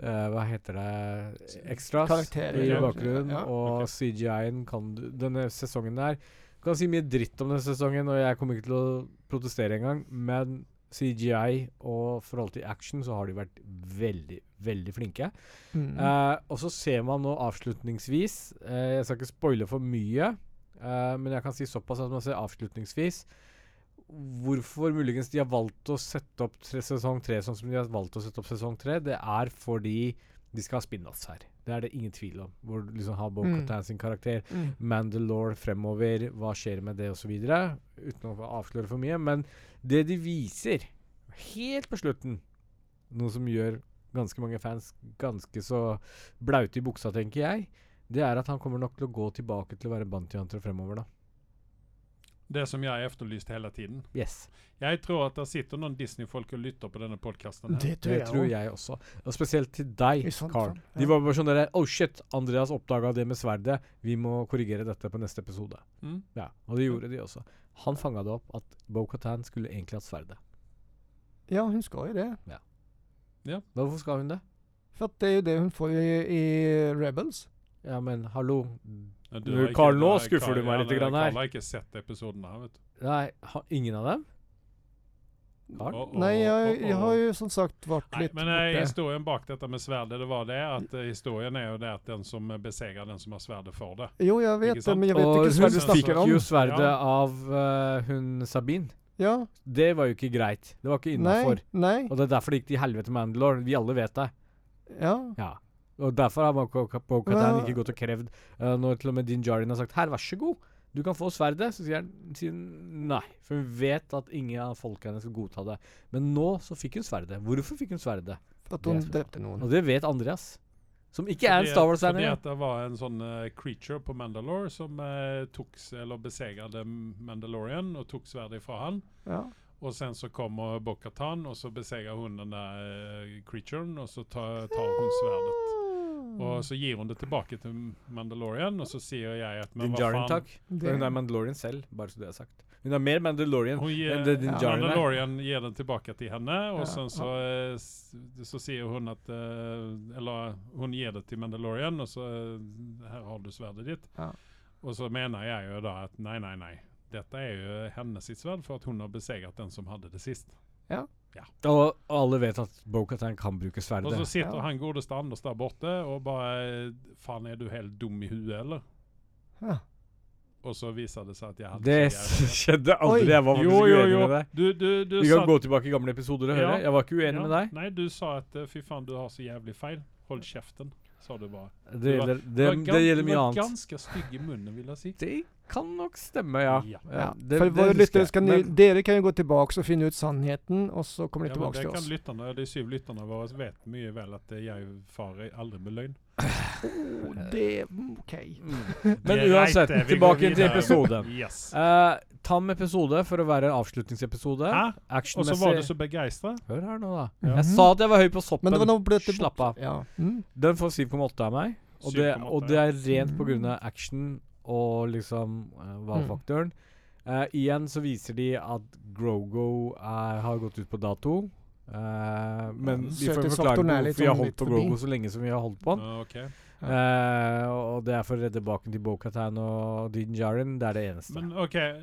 eh, hva heter det Extras Karakterer, i ja. bakgrunnen. Ja. Og Ok. CGI-en kan du Denne sesongen der Du kan si mye dritt om denne sesongen, og jeg kommer ikke til å protestere engang, men CGI og forhold til action så har de vært veldig, veldig flinke. Mm. Eh, og så ser man nå avslutningsvis eh, Jeg skal ikke spoile for mye, eh, men jeg kan si såpass at man ser avslutningsvis Hvorfor muligens de har valgt å sette opp tre, sesong tre sånn som de har valgt å sette opp sesong tre, det er fordi de skal ha spin-offs her. Det er det ingen tvil om. Hvor du liksom har Mm. Bo-Katan sin karakter, Mm. Mandalore fremover, hva skjer med det osv. Uten å avsløre for mye. Men det de viser helt på slutten, noe som gjør ganske mange fans ganske så blaute i buksa, tenker jeg, det er at han kommer nok til å gå tilbake til å være bounty hunter fremover, da. Det som jag efterlyst hela tiden. Yes. Jag tror att det sitter någon Disney-folk och lyssnar på denna podcasten. Här. Det tror Det jeg tror òg. jeg også. Og spesielt til deg, I sånt Carl. fall, ja. De var bare sånn der Oh shit, Andreas oppdaga det med sverdet. Vi må korrigere dette på neste episode. Mm. Ja, Og det gjorde de også. Han fanga det opp at Bo-Katan skulle egentlig hatt sverdet. Ja, hun skal jo det. Hvorfor skal hun det? For at det er jo det hun får i, i Rebels. Ja, men hallo Ja, Du, har ikke- Carl, nå har- Carl- skuffer du meg ja, litt nei, grann her. Carl har ikke sett episoden her, vet du. Nei, ha, ingen av dem? Carl? Å, å, Nei, jeg, å, å. jeg har jo som sagt vært Nej, litt men eh, borte. historien bak detta med svärdet, det var det att eh, historien är ju det att den som eh, besegrar den som har svärdet får det. Jo, jeg vet Ikke det, sant? men jeg vet Og ikke hva hun du fikk snakker om. jo sverdet Ja. av eh, hun Sabine. Ja, Det var jo ikke greit. Det var ikke nei, innafor. nei, Og det er derfor det gikk til helvete med Mandalore. Vi alle vet det. ja. Ja. Og derfor har Bo-Katan Men- ikke gått og krevd eh, Når til og med Din Jarin har sagt 'her, vær så god, du kan få sverdet', så sier han- sier hun nei. For hun vet at ingen av folka hennes skal godta det. Men nå så fikk hun sverdet. Hvorfor fikk hun sverdet? For at Det er hun så- drepte noen. Og det vet Andreas. Som ikke er en Fordi- Star Wars fan fordi engang. att det var en sån eh, creature på Mandalore som eh, togs, eller besegrade Mandalorian och tog svärdet ifrån han. Ja. Och sen så kommer Bo-Katan och så besegrar hon den där eh, creaturen och så tar, tar hon svärdet. Och så ger hon det tillbaka till Mandalorian och så ser jag att men Din vad Jarin, fan. takk. Det- Hun er Mandalorian selv, bare så det er sagt. Hun er mer Mandalorian Hon enn det ger, Din Ja. Jarin er. Mandalorian ger den tillbaka till henne och Ja, sen så, eh, s- så ser hon att, eh, eller hon ger det till Mandalorian och så eh, här har du svärdet ditt. Ja. Och så menar jag ju då att nej, nej, nej. Detta är ju hennes sitt svärd för att hon har besegrat den som hade det sist. Og, og alle vet at Bo-Katan kan bruke Och så sverdet. sitter Ja. han godeste Anders där borta och bara eh, fan är du helt dum i huvudet eller? Ja. Och så visade det sig att jag hade Det så s- jävla- skjedde aldri. Oi. Jeg var faktisk Jo, jo, uenig med jo. deg. Du, du, du Vi kan satt- gå tilbake i gamle episoder og Ja. høre. Jeg var ikke uenig Ja. med deg. Nei, du sa at eh, fy faen, du har så jævlig feil. Hold kjeften, sa du bare. Det var- gjelder, det, Du var det gan- du gjelder mye var annet. Ganske stygg i munnen, vil jeg si. Det kan nok stemme, ja. Ja. Ja. det- For det våre husker lyttere jeg. skal Men- ni- Dere kan jo gå tilbake og finne ut sannheten, og så kommer de Ja, men tilbake det til kan oss. lytterne, de syv lytterne våre vet mye vel at eh, jeg farer aldri med løgn. Å, det mm, OK. Mm, Men Greit, uansett, eh, vi går tilbake til videre. episoden. Yes. Uh, tam episode for å være en avslutningsepisode. Hæ? Og så var du Actionmessig så begeistra. Hør her nå, da. Ja. Jeg sa at jeg var høy på soppen. Men det var noe ble det Slapp av. Ja. Mm. Den får 7,8 av meg. Og det, 7,8, og det ja. er rent på Mm. grunn av action og liksom uh, Mm. wow-faktoren. Eh, igjen så viser de at Grogo er, har gått ut på dato. Eh, men vi får jo forklare Søtisfaktoren er litt hvorfor vi har sånn holdt litt på forbi. Grogo så lenge som vi har holdt på han. Ja, ok. Eh, og det er for å redde baken til Bo-Katan og Din Jaren. Det er det eneste. Men ok, eh,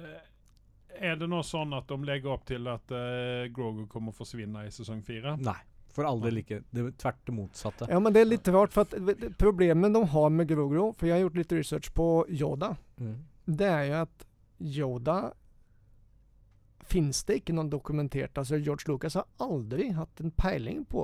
er det nå sånn at de legger opp til at eh, Grogu kommer å forsvinne i sesong fire? Nei. For all del ikke. Det er tvert det motsatte. ja, men det er litt rart, for at det- problemet de har med Grogo For jeg har gjort litt research på Yoda. Mm. Det er jo at Yoda Fins det ikke noen dokumentert Altså, George Lucas har aldri hatt en peiling på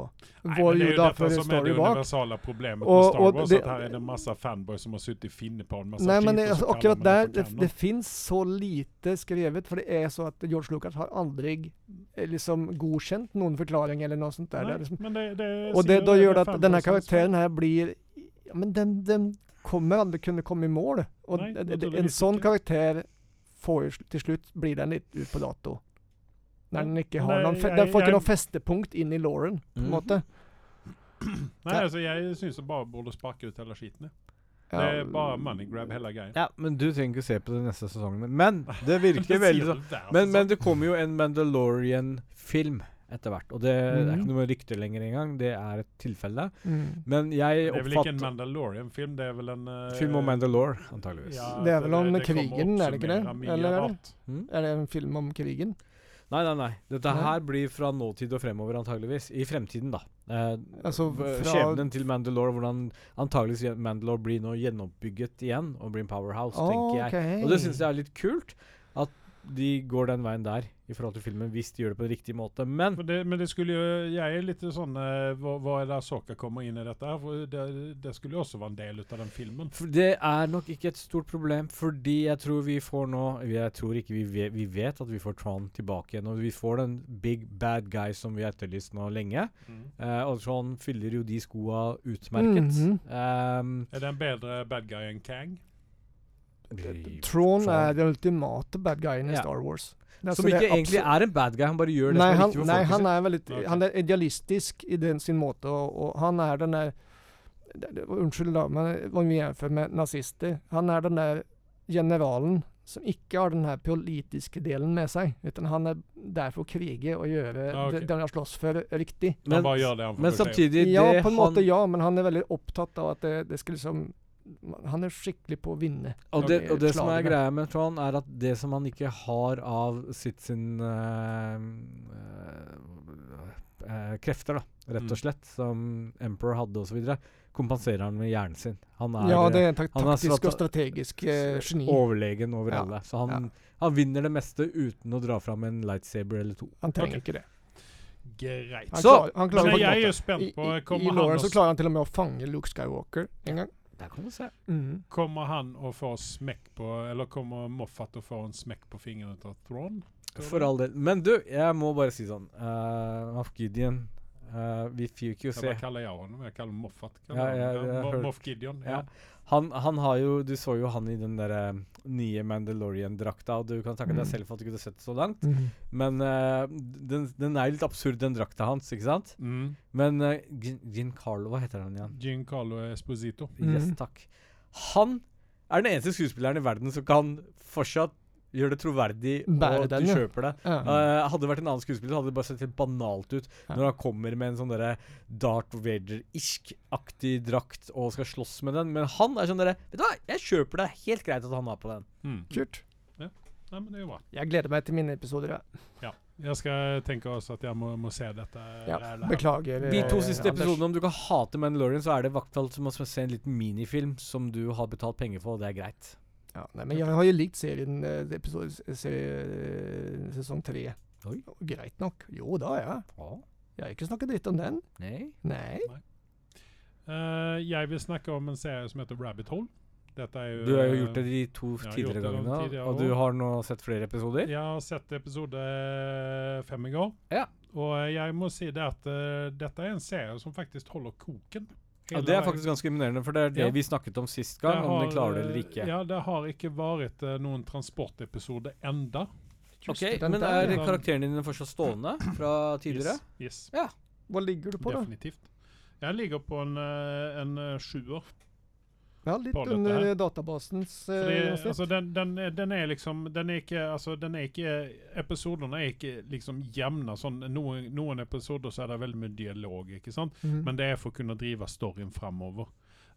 Nei, hvor men det er jo Yoda dette for som er story det bak. universale problemet Og- med Star og Wars. det- at her er det en masse fanboys som har suttit og funnet på en masse Nei, skit, men det, og så altså, kaller man akkurat der for Det, canon. det fins så lite skrevet, for det er så at George Lucas har aldri eh, liksom godkjent noen forklaring eller noe sånt der. Det Nei, er liksom, men det, det er Og det sikkert da gjør en det at fanboy denne som karakteren her blir ja, Men den, den kommer aldri kunne komme i mål. Og Nei, d- d- d- en naturligvis sånn ikke. karakter får jo sl- til slutt blir den litt ut på dato. Når den ikke har Nei, noen fe jeg- Den får jeg- ikke noe festepunkt inn i Lauren, på en Mm. måte. Nei, altså, jeg syns de bare burde sparke ut hele skiten. jeg. Det Ja, er bare money grab, hele greia. Ja, men du trenger ikke se på det neste sesongen. Men det virker veldig sånn. Men, men det kommer jo en Mandalorian-film etter hvert. Og det er Mhm. ikke noe rykte lenger engang. Det er et tilfelle. mm. Men det jeg er vel ikke en oppfatter Mandalorian-film, det er vel en eh, Film om Mandalore, antageligvis. ja, Det er vel om kommer krigen, er det ikke det? oppsummere mye Eller er det? rart. Er det en film om krigen? Nei, Mhm. nei, nei. Dette Nei. her blir fra nåtid og fremover, antageligvis. I fremtiden, da. Eh, Altså v- fra Skjebnen til Mandalore, hvordan antageligvis gjen- Mandalore blir nå gjenoppbygget igjen og blir en powerhouse, tenker jeg. Og det syns jeg er litt kult. At de går den veien der i forhold til filmen, hvis de gjør det på en riktig måte. Men Men det, men det skulle jo Jeg er litt sånn eh, Hva hva er det Soka kommer inn i dette her? For det, det skulle jo også være en del ut av den filmen. For det er nok ikke et stort problem, fordi jeg tror vi får nå Jeg tror ikke vi vet, vi vet at vi får Tron tilbake igjen. Og vi får den big bad guy som vi har etterlyst nå lenge. Eh, og Tron fyller jo de skoa utmerket. Mhm. Ehm, Er det en bedre bad guy enn Kang? Tron Tron. er den ultimate bad guyen i Ja. Star Wars. Som ikke egentlig er en bad guy, han bare gjør det Nei, som er han, riktig for nei, folket han sitt. er veldig Ok. Han er idealistisk i den sin måte, og, og han er den der det- det- Unnskyld, da, men om vi jämför med nazister. Han er den der generalen som ikke har den her politiske delen med seg. Utan han er der for å krige og gjøre Ja, ok. det, det han slåss for, riktig. Han bare gjør det han får Men beskjed om. samtidig ja, det på en måte han, ja, men han er veldig opptatt av at det, det skal liksom Han er skikkelig på å vinne. og, det, og det som er slagene. greia med Tron, er at det som han ikke har av sitt sin eh, eh, eh, krefter, da, rett Mm. og slett, som Emperor hadde osv., kompenserer han med hjernen sin. Han er, Ja, eh, det er tak han er taktisk strate- og strategisk eh, geni. overlegen over Ja, alle. Så han, han vinner det meste uten å dra fram en lightsaber eller to. Han Ok. trenger ikke det. Greit. Han Så- klarer, han klarer Men på en jeg er måte. jo spent på I, i, i Kommer han, Lauren så å, klarer han til og med å fange Luke Skywalker en gang. Der kan du se. Mm-hmm. Mhm. kommer han å få smekk på Eller kommer Moffat å få en smekk på fingeren av Thrawn? Tror For du? all del. Men du, jeg må bare si sånn uh, Moff Gideon eh, Vi fikk jo Ja, se Hva kaller jeg honom? Jeg kaller Moffat. Ja, Kaller han. ja, jeg Mo- har hørt. Moff Gideon. Ja. ja. han, han har jo Du så jo han i den der eh, nye Mandalorian-drakta, og du kan takke Mm. deg selv for at du kunne sett det så langt. Mhm. Men eh, den, den er jo litt absurd, den drakta hans, ikke sant? Mm. Men eh, Gin Giancarlo, hva heter han igjen? Giancarlo Esposito. Yes, Mhm. takk. Han er den eneste skuespilleren i verden som kan fortsatt gjøre det troverdig, Bære og den, du ja. kjøper det. Ja. Eh, hadde det vært en annen skuespiller, hadde det bare sett helt banalt ut. Ja. Når han kommer med en sånn derre Darth Vader-isk-aktig drakt og skal slåss med den. Men han er sånn derre Vet du hva, jeg kjøper det. Helt greit at han har på den. Mm. Kult. Nei, men det er jo bra. Jeg gleder meg til mine episoder. ja. Jeg skal tenke også at jeg må, må se dette. Ja. rælet her. Beklager. De to eh, siste Anders. episodene, om du kan hate Mandalorian, så er det i hvert fall som å se en liten minifilm som du har betalt penger for, og det er greit. Ja, nei, men jeg har jo likt serien eh, episode, serie, eh, sesong tre. Oi. Og Greit nok. Jo da, ja. Jeg har ikke snakket dritt om den. Nei. Nei. Eh, jeg vil snakke om en serie som heter Rabbit Hole. Dette er jo Du har jo gjort det de to jeg har gjort tidligere det de gangene, tidligere og du også. har nå sett flere episoder. Jeg har sett episode fem i går. Ja. Og jeg må si det at eh, dette er en serie som faktisk holder koken. Ja, Hele det er veien. faktisk ganske imponerende, for det er det Ja. vi snakket om sist gang, Det om har, de klarer det eh, eller ikke. Ja, det har ikke vært eh, noen transportepisode enda. Ok, Just den Men der, er ja. karakterene dine fortsatt stående fra tidligere? Yes, yes Hva ligger du på, da? definitivt. Jeg ligger på en, eh, en eh, sjuer. Ja, litt På dette under her. eh, databasens eh, Fordi, gjennomsnitt. altså, den, den, er- den er liksom Den er ikke altså, den er ikke Episodene er ikke liksom jevne. Sånn, noen, noen episoder så er det veldig mye dialog, ikke sant? Mhm. Men det er for å kunne drive storyen framover.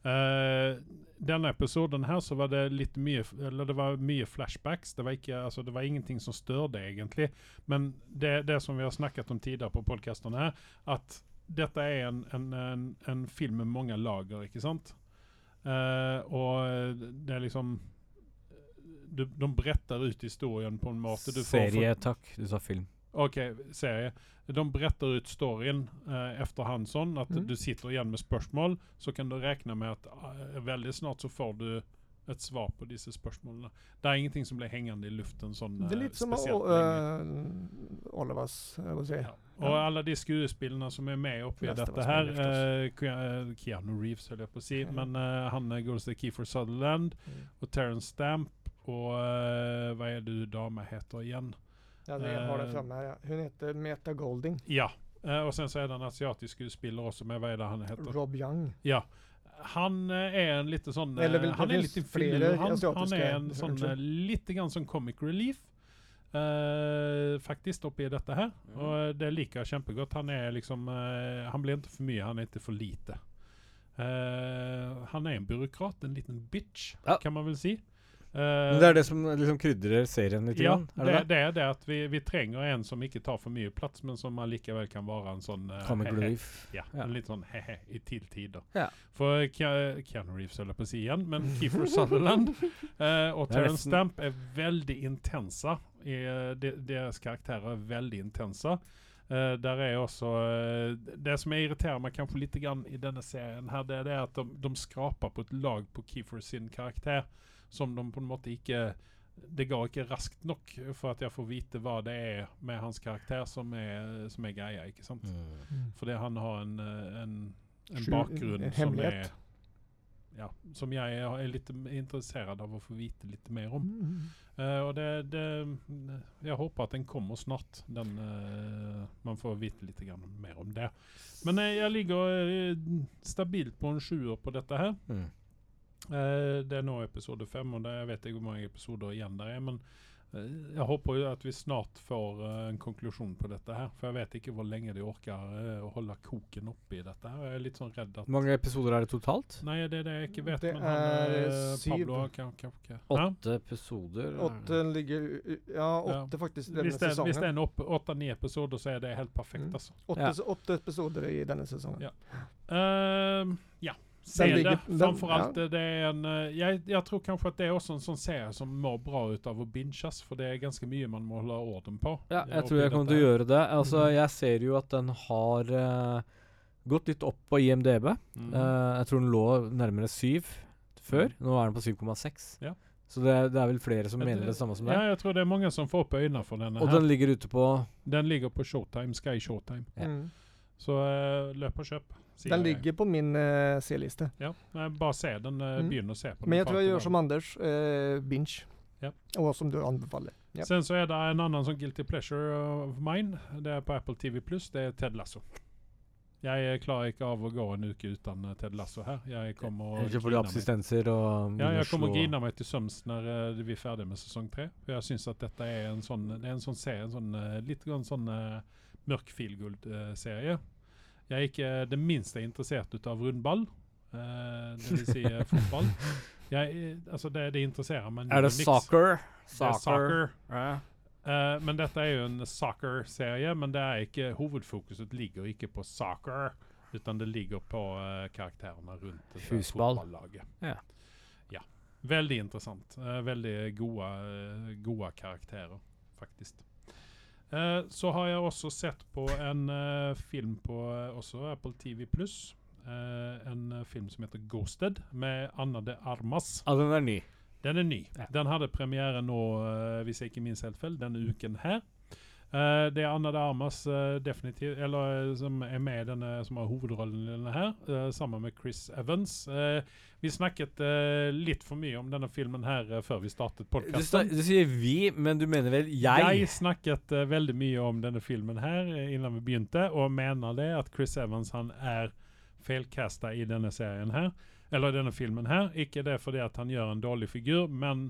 Eh, denne episoden her så var det litt mye f- Eller det var mye flashbacks. Det var, ikke, altså, det var ingenting som størde, egentlig. Men det, det som vi har snakket om tidligere på podkastene her, at dette er en, en, en, en film med mange lager, ikke sant? Eh, og det er liksom du, De bretter ut historien på en måte. Du Eh, får- Serie, takk. Du sa film. Okej, serie. De berättar ut storyn eh, efterhand sån att Mm. du sitter igen med spörsmål så kan du räkna med att eh, väldigt snart så får du ett svar på dessa spörsmålen. Det är ingenting som blir hängande i luften sån Det er eh, litt som speciellt å- eh, länge. øh, Olivas, jeg vil si. Ja. Och alla de skådespelarna som är med uppe i Nästa detta var Sven här, Lyft eh, Ke- eh, Keanu Reeves höll jag på att säga, Mm. men eh, han eh, går till Kiefer Sutherland Mm. och Terrence Stamp och eh, vad är det du damer heter igen? Ja, det, jeg har det Eh, framme her, ja. Hun heter Meta Golding. Ja, eh, och sen så är det en asiatisk skådespelare också med, vad är det han heter? Rob Young. Han eh, är en lite sån, eh, Eller väl- han det är finns lite flera filur, han, han asiatiska- är en sån, ursäkta. eh, lite grann som comic relief. eh, faktiskt uppe i detta här. Och eh, det liker jag kämpegott. Han är liksom, eh, han blir inte för mycket, han är inte för lite. Eh, han är en byråkrat, en liten bitch Ja. kan man väl säga. Eh, Men det er det som liksom krydrer serien litt? ja, grann, det, er det det? det är det att vi, vi tränger en som inte tar för mycket plats men som man lika väl kan vara en sån... eh, Comic hehe. relief. Ja, Ja. en litt sånn he-he i tiltider. Ja. For Ke- Keanu Reeves holder jeg på å si igjen, men Keefer Sutherland eh, og Det er Terence nesten- Stamp er veldig intense. I, eh, de, deres karakterer er veldig intense. Eh, der er også eh, Det som jeg irriterer meg kanskje litt grann i denne serien, her, det er det at de, de skraper på et lag på Keefer sin karakter som de på en måte ikke Det går ikke raskt nok for at jeg får vite hva det er med hans karakter som er, som er greia, ikke sant? Mm. Fordi han har en, eh, en, en Skjul- bakgrunn en som hemmelighet. er ja, som jeg er er litt interessert av å få vite litt mer Mm. om. Eh, og det, det Jeg håper at den kommer snart, den eh, Man får vite litt grann mer om det. Men eh, jeg ligger eh, stabilt på en sjuer på dette her. Mm. Eh, det er nå episode fem, og det, jeg vet ikke hvor mange episoder igjen det er. Men eh, jeg håper jo at vi snart får eh, en konklusjon på dette her. For jeg vet ikke hvor lenge de orker eh, å holde koken oppe i dette. her. Jeg er litt sånn redd at Hvor mange episoder er det totalt? Nei, det er det jeg ikke vet. Det men han, er eh, syv. Pablo har kan- kan- kan- Ja, Åtte episoder? Åtte ligger u- u- Ja, åtte faktisk i denne Hvis det, sesongen. hvis det er en opp- åtte-ni episoder, så er det helt perfekt, Mm. altså. Åtte, Ja. åtte episoder i denne sesongen. Ja. Ehm, ja. Se ligger- det. den- Framfor alt, ja. eh, det er en eh, jeg, jeg tror kanskje at det er også en sånn serie som mår bra ut av å binges, for det er ganske mye man må holde orden på. Ja, eh, jeg oppi tror jeg kommer til å dette. Mm. gjøre det. Altså, jeg ser jo at den har eh, gått litt opp på IMDb. Mm. Eh, jeg tror den lå nærmere syv før. Nå er den på 7,6. Ja. Så det, er- det er vel flere som Jeg mener tror- det samme som Ja, deg. jeg tror det er mange som får opp øynene for denne. Og her. den ligger ute på Den ligger på Showtime, Sky Showtime. Ja. Mm. Så eh, løp og kjøp. sier Den jeg. ligger på min eh, C-liste. Ja, nei, bare se den. eh, Mm. Begynn å se på den. Men jeg tror jeg fram gjør til som Anders. Eh, binge. Ja. Og som du anbefaler. Ja. Sen så er det en annen sånn guilty pleasure of mine. Det er på Apple TV Det er Ted Lasso. Jeg klarer ikke av å gå en uke uten eh, Ted Lasso her. Jeg kommer å Ikke fordi grine meg. absistenser og Ja, jeg kommer å slå- grine meg til søms når eh, vi er ferdig med sesong tre. For jeg syns at dette er en sånn Det er en sånn serie, en sånn, eh, litt grann sånn eh, mørk feelgood-serie. Jeg er ikke det minste interessert ut av rundball. eh, det vil si eh, fotball. Jeg, eh, altså det, det interesserer meg Er det niks. soccer? Det er soccer. Ja. Eh, men dette er jo en soccer-serie, men det er ikke, hovedfokuset ligger ikke på soccer, utan det ligger på eh, karakterene rundt det der Husball. fotballaget. Ja. Ja. Veldig interessant. Eh, veldig gode, eh, gode karakterer, faktisk. Eh, så har jeg også sett på en eh, film på eh, også Apple TV+. eh, en eh, film som heter Ghosted, med Anna de Armas. Ja, Altså, den er ny. Den er ny. Ja. Den hadde premiere nå, eh, hvis jeg ikke minst helt feil, denne uken her. Eh, det er Anna de Armas eh, definitivt, eller eh, som er med i denne, som har hovedrollen i denne her, eh, sammen med Chris Evans. Eh, vi snakket eh, litt for mye om denne filmen her eh, før vi startet Du, podkasten. sta- du sier vi, men du mener vel jeg? Jeg snakket eh, veldig mye om denne filmen her eh, innan vi begynte, og mener det at Chris Evans han er feilkasta i denne serien her, eller denne filmen her. Ikke det fordi at han gjør en dårlig figur, men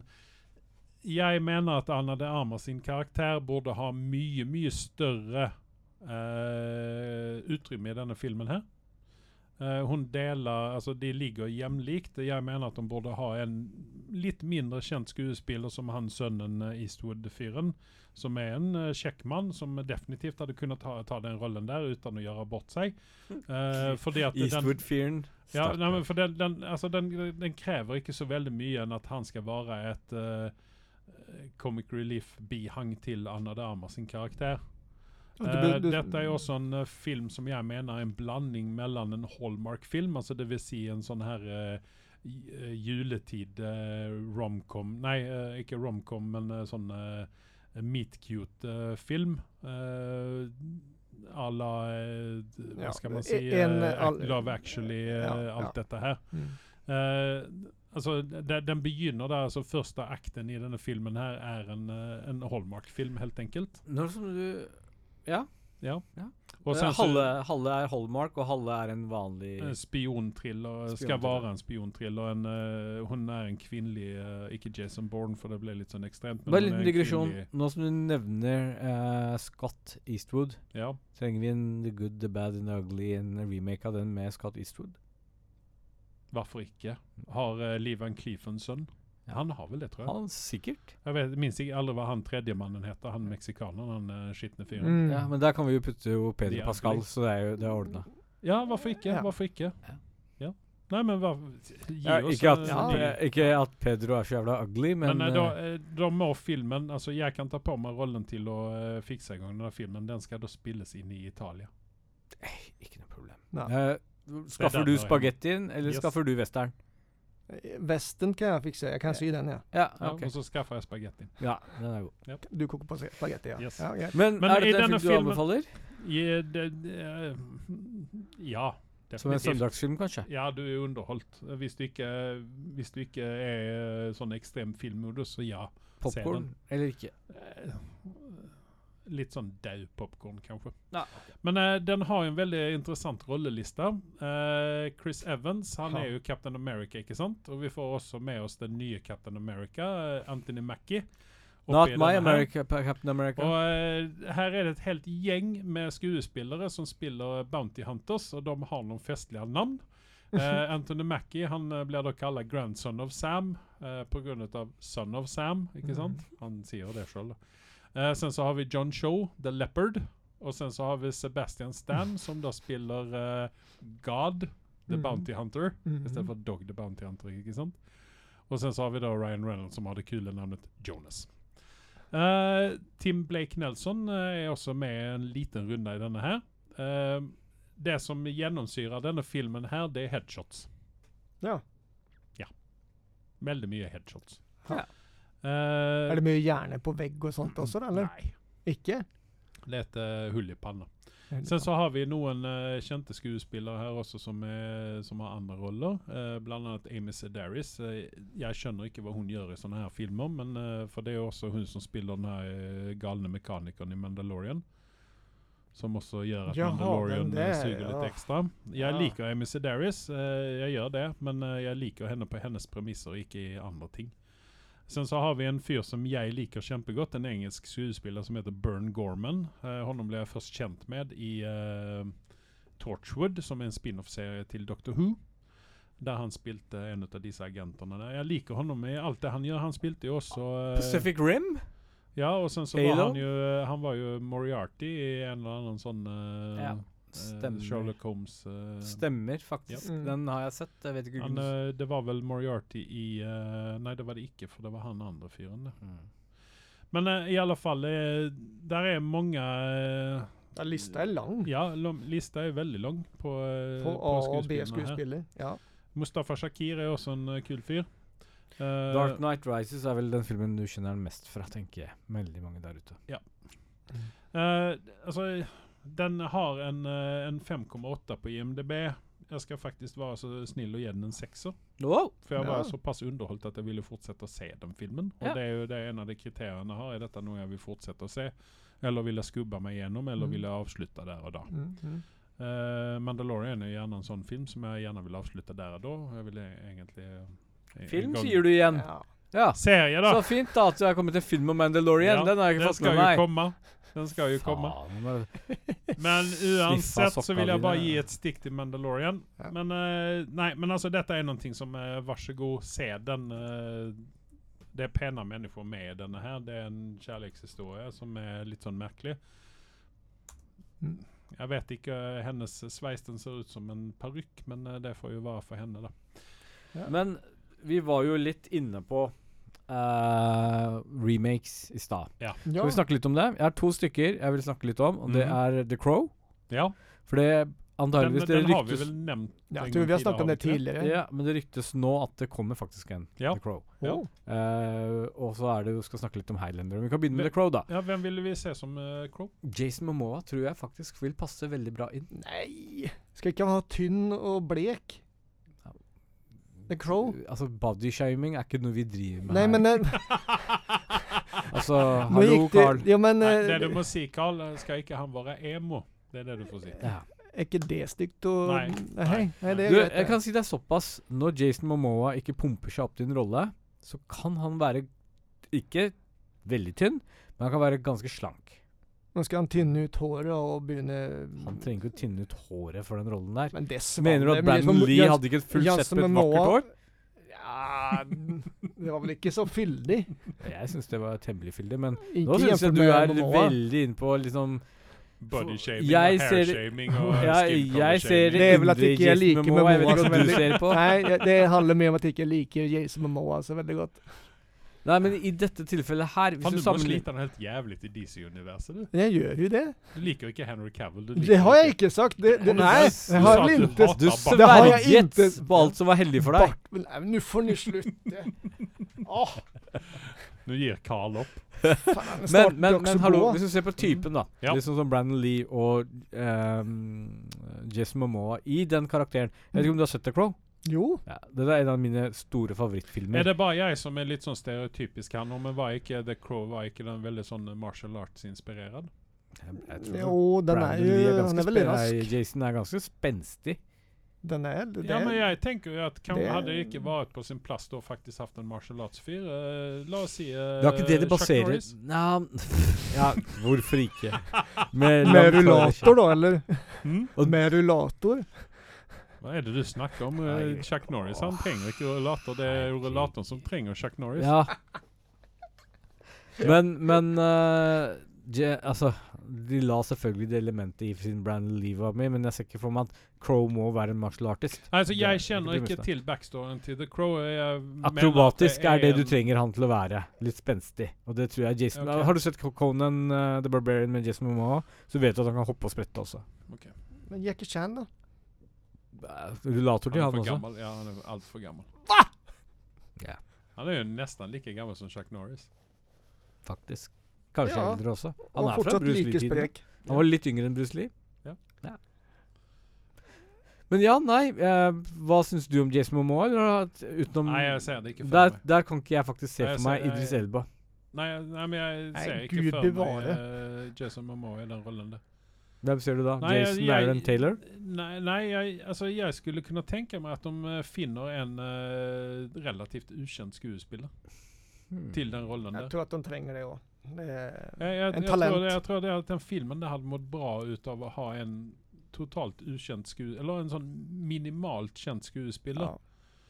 jeg mener at Anna de Armas sin karakter burde ha mye, mye større eh, utrymme i denne filmen her. Eh, hun deler Altså, de ligger jevnlikt. Jeg mener at de burde ha en litt mindre kjent skuespiller som han sønnen eh, Eastwood-fyren, som er en eh, kjekk mann som definitivt hadde kunnet ta, ta den rollen der uten å gjøre bort seg. Eh, fordi at den, Eastwood-fyren. ja, Stakkar. nei, men for den, den, altså den, den krever ikke så veldig mye enn at han skal være et eh, comic relief-bihang til Anna de Armas sin karakter. Og du bør- Eh, du- dette er jo også en eh, film som jeg mener er en blanding mellom en Hallmark-film, altså det vil si en sånn her eh, j- eh, juletid eh, romcom Nei, eh, ikke romcom, men eh, sånn eh, meet cute-film. Uh, à la eh, Hva Ja, skal man en- si? en, eh, all- Love Actually, eh, Ja, ja. alt dette her. Mm. Eh, altså, de, den begynner der, altså første akten i denne filmen her er en, eh, en Hallmark-film, helt enkelt. Når som du Ja. Ja. Og Eh, sen så- halve, halve er Hallmark, og halve er en vanlig En Eh, spionthriller. Eh, Skal Eh, Spionthriller. være en spionthriller. En, eh, hun er en kvinnelig eh, Ikke Jason Bourne, for det ble litt sånn ekstremt. Bare en hun er liten digresjon. kvinnelig- Nå som du nevner eh, Scott Eastwood, Ja. trenger vi en The Good, The Bad and The Ugly, en remake av den med Scott Eastwood? Hvorfor ikke? Har uh, Liv Van Cleef en sønn? Ja. Han har vel det, tror jeg. Han sikkert. Jeg vet, minst ikke aldri hva han tredjemannen heter, han meksikaneren, han eh, skitne fyren. Mm. Ja, Men der kan vi jo putte jo The Pedro Ugly. Pascal, så det er jo det er ordna. Ja, hvorfor ikke? Ja. Hvorfor ikke? Ja. Ja. Nei, men hva gi Ja, oss, ikke, at, eh, Ja, ny- eh, ikke at Pedro er så jævla ugly, men, Men, eh, da, eh, eh, da må filmen Altså, jeg kan ta på meg rollen til å eh, fikse i gang denne filmen. Den skal da spilles inn i Italia. Ikke noe problem. Nei. Eh, skaffer Det du er der vi spagettien, eller Yes. skaffer du western? Vesten kan jeg fikse. Jeg kan sy den, ja. Ja, Ja, Ah, ok. Og så skaffer jeg spagettien. Ja, den er god. Du koker på spagetti, ja. Yes. ja greit. Men, Men er i dette en denne film du filmen- anbefaler? Ja, det, det, eh, ja. Som en Definitivt. søndagsfilm, kanskje? Ja, du er underholdt. Hvis du ikke, hvis du ikke er sånn ekstrem filmmodus, så ja. Popkorn eller ikke? Eh, Litt sånn dau popkorn, kanskje. Ja, Men eh, den har jo en veldig interessant rolleliste. Eh, Chris Evans han Ja. er jo Captain America, ikke sant? Og vi får også med oss den nye Captain America, eh, Anthony Mackie. oppi Not denne my her. America, Pa- Captain America. Og eh, her er det et helt gjeng med skuespillere som spiller Bounty Hunters, og de har noen festlige navn. Eh, Anthony Mackie han eh, blir da kalt grandson of Sam eh, pga. son of Sam, ikke sant? Han sier det sjøl. Eh, sen så har vi John Show, The Leopard. Og sen så har vi Sebastian Stan, som da spiller eh, God, The Mhm. Bounty Hunter, Mhm. istedenfor Dog, The Bounty Hunter. ikke sant? Og sen så har vi da Ryan Reynolds, som har det kule navnet Jonas. Eh, Tim Blake Nelson eh, er også med en liten runde i denne her. Eh, det som gjennomsyrer denne filmen her, det er headshots. Ja. Veldig mye headshots. Ja. Eh, Er det mye hjerne på vegg og sånt også, da, eller? Nei. Ikke? Det er et eh, hull i panna. Sen så har vi noen eh, kjente skuespillere her også som, er, som har andre roller. Eh, blant annet Amy Sedaris. Eh, jeg skjønner ikke hva hun gjør i sånne her filmer, men eh, for det er jo også hun som spiller den her eh, galne mekanikeren i Mandalorian. Som også gjør at Jaha, Mandalorian den eh, der, suger litt ja. ekstra. Jeg Ja. liker Amy Sedaris, eh, jeg gjør det, men eh, jeg liker henne på hennes premisser, ikke i andre ting. Sen så har vi en fyr som jeg liker kjempegodt, en engelsk skuespiller som heter Bern Gorman. Eh, honom ble jeg først kjent med i eh, Torchwood, som er en spin-off-serie til Doctor Who. Der han spilte en av disse agentene. der. Jeg liker honom i alt det han gjør. Han spilte jo også eh, Pacific Rim? Ja, og sen så var Halo? han jo eh, Han var jo Moriarty i en eller annen sånn eh, Ja, eh, Stemmer. Sherlock Holmes eh, Stemmer, faktisk. Ja. Mm. Den har jeg sett. Jeg vet ikke Han, hvordan eh, det var vel Moriarty i eh, Nei, det var det ikke, for det var han andre fyren. det. Mm. Men eh, i alle fall, eh, der er mange eh, Ja, lista er lang. Ja, lo- lista er veldig lang på, eh, På A- på og skuespillerne her. B-skuespiller. Ja. Mustafa Shakir er også en eh, kul fyr. Eh, Dark Knight Rises er vel den filmen du kjenner den mest fra, tenker jeg. Veldig mange der ute. eh, altså, den har en, eh, en 5,8 på IMDb. Jeg skal faktisk være så snill og gi den en sekser. Wow! For jeg var Ja. såpass underholdt at jeg ville fortsette å se den filmen. Og Ja. det er jo det en av de kriteriene jeg har. Er dette noe jeg vil fortsette å se? Eller vil jeg skubbe meg gjennom, eller Mm. vil jeg avslutte der og da? Mm, mm. Eh, Mandalorian er jo gjerne en sånn film som jeg gjerne vil avslutte der og da. Jeg vil e- egentlig eh, en Film, gang- sier du igjen. Ja. Ja. Serie, da! Så fint da at du er kommet til film om Mandalorian. Ja, den har jeg ikke Den fått skal med jo meg. komme. Den skal jo komme. Faen, men- Men uansett så sokka vil jeg bare dine. gi et stikk til Mandalorian. Ja. Men eh, nei, men altså, dette er noe som eh, Vær så god, se den. eh, det er pene mennesker med i denne her. Det er en kjærlighetshistorie som er litt sånn merkelig. Mm. Jeg vet ikke eh, Hennes sveis den ser ut som en parykk, men eh, det får jo være for henne, da. Men vi var jo litt inne på eh, remakes i stad. Ja. Skal vi snakke litt om det? Jeg har to stykker jeg vil snakke litt om, og det er The Crow. Ja, For det Mhm. Den, antageligvis det den har vi ryktes vel nevnt. Ja, en jeg tror vi gang har snakket om det tidligere, tidligere. Ja, men det ryktes nå at det kommer faktisk en Ja. The Crow. Ja. Å, Eh, og så er det jo skal snakke litt om Highlander. Vi kan begynne med The Crow, da. Ja, Hvem ville vi se som eh, Crow? Jason Momoa tror jeg faktisk vil passe veldig bra inn. Nei Skal ikke han ha tynn og blek? The Oh. Crow? Altså, bodyshaming er ikke noe vi driver med Nei, men eh, her. Altså, nå hallo, gikk det Carl. Ja, men Nei, eh, det du må si, Carl, Eh, skal ikke han være emo? Det er det du får si. Ja. er ikke det stygt å Nei, Nei, nei, det er Du, greit, det. jeg kan si det er såpass. Når Jason Momoa ikke pumper seg opp til en rolle, så kan han være ikke veldig tynn, men han kan være ganske slank. Nå skal han tynne ut håret og begynne Han trenger ikke å tynne ut håret for den rollen der. Men det Mener du svaner at mye Brandon som- Lee Jans- hadde ikke et fullt sett Jansen med et Momoa- vakkert hår? Ja, det var vel ikke så fyldig. Jeg syns det var temmelig fyldig, men nå Ikke syns jeg jevnt du med er Momoa. veldig inne på liksom Bodyshaming Jeg og ser- hairshaming og Jeg, jeg ser skincolor-shaming. Det er vel at indre ikke jeg Jason liker Momoa, Jeg vet ikke hva Momoa så du veldig. ser på. Nei, jeg- det handler mer om at jeg ikke liker Jason Momoa så veldig godt. Nei, men i dette tilfellet her Faen, Hvis du må du sammenligner slite den helt jævlig til DC-universet, du. Men Jeg gjør jo det. Du liker jo ikke Henry Cavill. Du liker Det har jeg ikke sagt. Det, det, Kom nei, igjen. jeg har Du sa vel at du ikke hater Du Bart- Det har jeg sverget ikke- på alt som var heldig for deg. Bart- Men nei, men Nå får ni slutte. Åh, Nå gir Carl opp. Faen, snart Men, blir men, også men hallo, blå. hvis du ser på typen, da. Mm. Ja. Litt sånn som Brandon Lee og ehm, Jason Momoa i den karakteren. Jeg vet ikke om du har sett The Crow? Jo. Ja, det er en av mine store Er favorittfilmer. det bare jeg som er litt sånn stereotypisk her nå, men var ikke The Crow var ikke den veldig sånn martial arts-inspirerert? Jeg, jeg tror Jo, den Brandon er Lee jo Han ganske er veldig spen- nei, rask. Jason er ganske spenstig. Den er det, Ja, men jeg tenker jo at kan, det- hadde det ikke vært på sin plass da faktisk hatt en martial arts-fyr? Eh, la oss si eh, Det er ikke det det Chuck baserer Norris. Nja Ja, hvorfor ikke? Med, Med rullator, da, eller? Mm? Og- Med rullator? Hva er det du snakker om? Nei. Eh, Chuck Norris han trenger ikke rullator. Det er jo rullatoren som trenger Chuck Norris. Ja. Men, men eh, Je, Altså, de la selvfølgelig det elementet i sin Brandon Lee var med, men jeg ser ikke for meg at Crow må være en martial artist. Altså, Det er Jeg ikke kjenner det ikke minste. til backstoryen til The Crow. Jeg mener at Akrobatisk er det du en- trenger han til å være. Litt spenstig. Og det tror jeg Jason Ok. Har du sett Conan eh, The Barbarian med Jason Momoa, så vet du at han kan hoppe og sprette også. Men Jackie Chan, da? Eh, Rullator Han til er han for også. gammel. Ja, han er altfor gammel. Ja. Han er jo nesten like gammel som Chuck Norris. Faktisk. Kanskje Ja. eldre også. Og Han er fra fortsatt Bruce like Lee-tiden. sprek. Han var litt yngre enn Bruce Lee. Ja. Men ja, nei eh, Hva syns du om Jason Momoa? Eller, at utenom Nei, jeg ser det ikke for der, meg. der kan ikke jeg faktisk se Nei, jeg for meg ser- Idris jeg- Elba. Nei, nei, men jeg Nei, ser ikke Gud for meg bevare. eh, Jason Momoa i den rollen. der. Hvem ser du da? Nei, jeg- Jason jeg- Aaron Taylor? Nei, nei jeg, altså, jeg skulle kunne tenke meg at de eh, finner en eh, relativt ukjent skuespiller Hmm. til den rollen Jeg der. tror at de trenger det òg. Jeg, jeg, En jeg, tror, talent. det, jeg tror det at den filmen det hadde mått bra ut av å ha en totalt ukjent skuespiller, eller en sånn minimalt kjent skuespiller. Ja.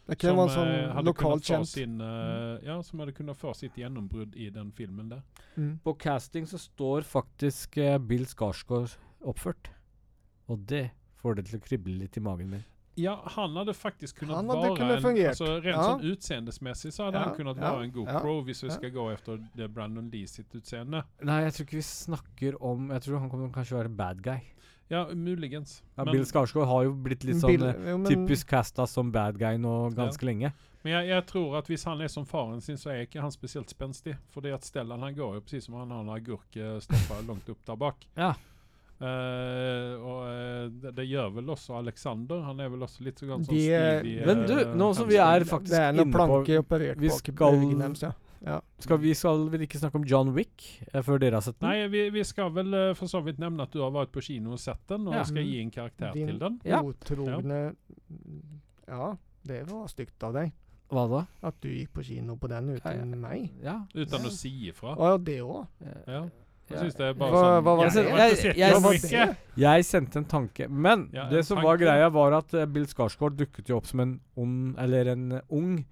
Det kan være en eh, sånn hadde kunnet lokalt få kjent. sin, eh, ja, som hadde kunnet få sitt gjennombrudd i den filmen der. Mm. På casting så står faktisk eh, Bill Skarsgård oppført. Og det får det til å krible litt i magen min. Ja, han hadde faktisk kunnet Han hadde vara kunnet en, fungert. Alltså, rent Ja. sånn utseendemessig så hadde Ja, han kunnet ja, være en god ja, pro hvis vi ja. skal gå efter det Brandon Lee sitt utseende. Nei, jeg tror ikke vi snakker om Jeg tror han kommer kanskje være en bad guy. Ja, muligens. Ja, Men, Bill Skarsgård har jo blitt litt sånn eh, Bill- jo, men- typisk casta som bad guy nå ganske lenge. men jeg, jeg tror at hvis han er som faren sin så er ikke han spesielt spenstig. For det at Stellan han går jo precis som han har en agurk eh, stoppet langt opp der bak. Ja. Eh, og eh, det, det gjør vel også Alexander. Han er vel også litt så ganske sånn De, eh, smidig. Men du, eh, nå som vi kanskje. er faktisk Det er noen inne på planker operert vi bak i skal- ryggen deres, ja. skal Vi skal vel ikke snakke om John Wick eh, før dere har sett den? Nei, vi, vi skal vel eh, for så vidt nevne at du har vært på kino og sett den, og Ja. skal gi en karakter Din- til den. Ja. Otrogne Ja, det var stygt av deg. Hva da? At du gikk på kino på den uten Ja, ja. meg. Ja. Uten å si ifra. Å ja, det òg. eh, Ja. Jeg synes det er bare Hva- sånn hva var jeg har det? ikke Jeg- sett jeg- John hva var Wick, det? jeg. Jeg sendte en tanke, men Ja, en det som var tanke. greia, var at eh, Bill Skarsgård dukket jo opp som en ond Eller en eh, ung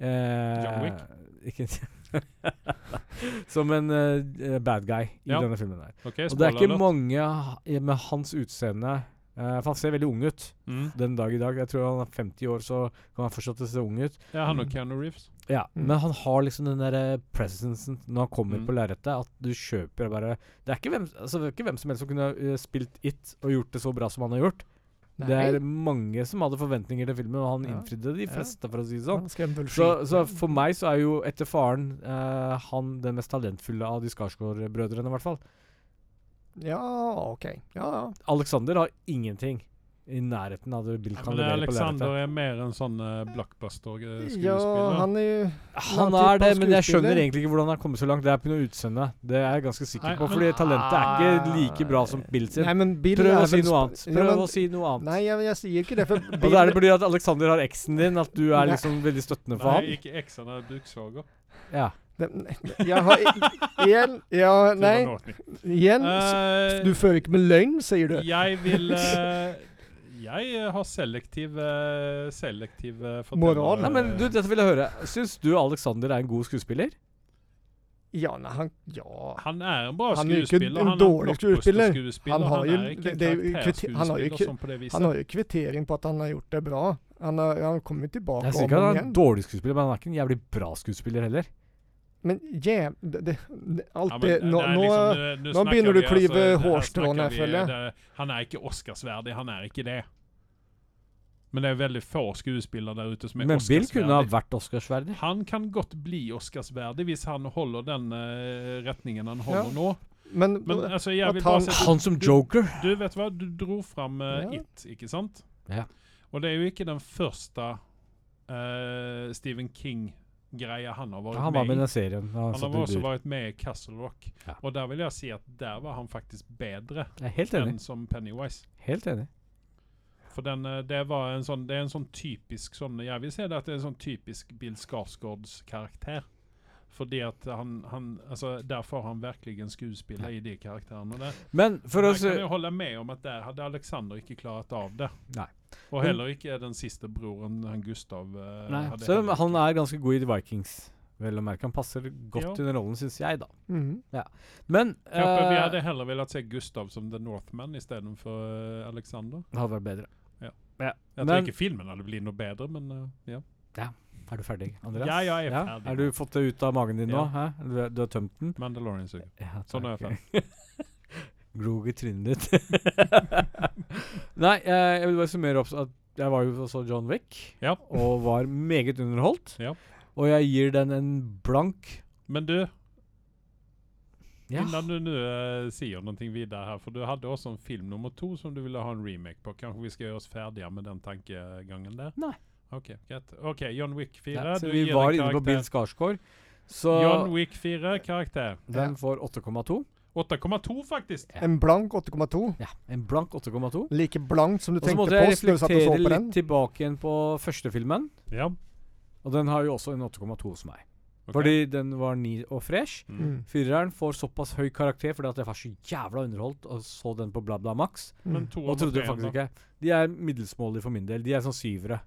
eh, John Wick? Ikke Som en eh, bad guy i Ja. denne filmen her. Ok, Og det er ikke spoiler alert. mange ha- i- med hans utseende eh, For han ser veldig ung ut Mm. den dag i dag. Jeg tror han er 50 år, så kan han fortsatt se ung ut. Ja, han og Keanu Reeves. Ja, Mm. Men han har liksom den der eh, presencen når han kommer Mm. på lerretet, at du kjøper bare Det er ikke hvem, altså, det er ikke hvem som helst som kunne eh, spilt It og gjort det så bra som han har gjort. Det er mange som hadde forventninger til filmen, og han Ja. innfridde de Ja. fleste, for å si det sånn. Han skrev Så, bullshit. så for meg så er jo etter faren eh, han den mest talentfulle av de Skarsgård-brødrene, i hvert fall. Ja, OK. Ja, ja. Alexander har ingenting i nærheten av det Bill Ja, kan men levere på Alexander lerretet. er mer en sånn eh, blockbuster-skuespiller. ja han er jo Han han er det, typen men jeg skuespiller. skjønner egentlig ikke hvordan han har kommet så langt. Det er pga. utseendet. Det er jeg ganske sikker Nei, men- på, ah, eh, fordi talentet er ikke like bra som Bill Nei, sin. men Bill Prøv er å si vel noe sp- annet. Ja, Prøv men- å si noe annet. Nei, jeg, jeg sier ikke det, for Og da er Bill- det fordi at Alexander har eksen din, at du er Nei. liksom veldig støttende for Nei, han. ikke eksen av Buksvåger. Ja. det, Jeg har i- Igjen Ja, nei. Igjen. Eh, s- Du fører ikke med løgn, sier du. Eh, Jeg vil eh, Jeg eh, har selektiv eh, Selektiv eh, forteller- Moral. Nei, men du, dette vil jeg høre. Syns du Alexander er en god skuespiller? Ja, nei, han Ja. Han er en bra Han er jo ikke skuespiller. en han er dårlig skuespiller. blockbuster-skuespiller. Han har han jo- er ikke en det er jo kriti- han har jo karakterskuespiller ikke- sånn på det Han viset. har jo kvittering på at han har gjort det bra. Han, har, han kommer jo tilbake Jeg sier om ikke at og han er en igjen. dårlig skuespiller, men han er ikke en jævlig bra skuespiller heller. Men jæv... Det, det, det, alt Ja, men det det Nå, er nå liksom, eh, nå snakker begynner du vi, altså, å klyve det her hårstråene, snakker vi, føler jeg. det- Han er ikke Oscarsverdig, han er ikke det. Men det er veldig få skuespillere der ute som er Men Bill kunne ha Oscarsverdig. vært Oscarsverdig. Han kan godt bli Oscarsverdig hvis han holder den eh, retningen han holder Ja. nå. Men, Men altså, jeg at vil bare han- si at Han som joker! du, du vet hva, du dro fram eh, Ja. It, ikke sant? Ja. Og det er jo ikke den første eh, Stephen King-greia han har vært Han var med i med i. den serien. da Han Han satt har i også bur. vært med i Castle Rock, Altså, Ja. og der vil jeg si at der var han faktisk bedre Jeg er helt enig. enn som Pennywise. Helt enig. For den, eh, det, var en sånn, det er en sånn typisk sånn Jeg vil si det at det er en sånn typisk Bill Skarsgårds karakter. Fordi at han, han altså, Der får han virkelig skuespille i de karakterene. Og det, Men for å jeg se kan jo holde med om at der hadde Alexander ikke klart av det. Nei. Og Men- heller ikke den siste broren, han Gustav. eh, Nei, hadde Selv heller om han ikke- er ganske god i The Vikings, vel å merke. Han passer godt Ja. i den rollen, syns jeg, da. Mhm. Men Kanskje vi eh, hadde heller villet se Gustav som The Northman istedenfor uh, Alexander. det hadde vært bedre. Ja. Jeg tror Men ikke filmen hadde blitt noe bedre, men eh, ja. er du ferdig, Andreas? Ja, jeg er ferdig. Er du fått det ut av magen din nå? Ja. Hæ? Du, er- du har tømt den? Mandalorian suger. Ja, Sånn er jeg takk. Grog i trynet ditt. Nei, eh, jeg vil bare summere opp så at jeg var jo og så John Wick, Ja. og var meget underholdt. Ja. Og jeg gir den en blank Men du, Ja. innan du nu eh, sier noe videre her, for du hadde også en film nummer to som du ville ha en remake på. Kanskje vi skal gjøre oss ferdige med den tankegangen der? Nei. Ok, greit. Ok, John Wick 4. Ja, så du vi gir var en inne på karakter. Bill Skarsgård. Så John Wick 4, karakter. den får 8,2. 8,2 faktisk. Ja. En blank 8,2. Ja, en blank 8,2. Like blankt som du Og så tenkte måtte jeg på når du satt og så reflektere på litt den. tilbake igjen på første filmen. Ja. Og den har jo også en 8,2 hos meg. ok. Fordi den var ny og fresh. Mm. Fireren får såpass høy karakter fordi at jeg var så jævla underholdt og så den på Blabla Max. Men Mm. to Og og trodde tre, faktisk da. ikke De er middelsmålige for min del. De er sånn syvere.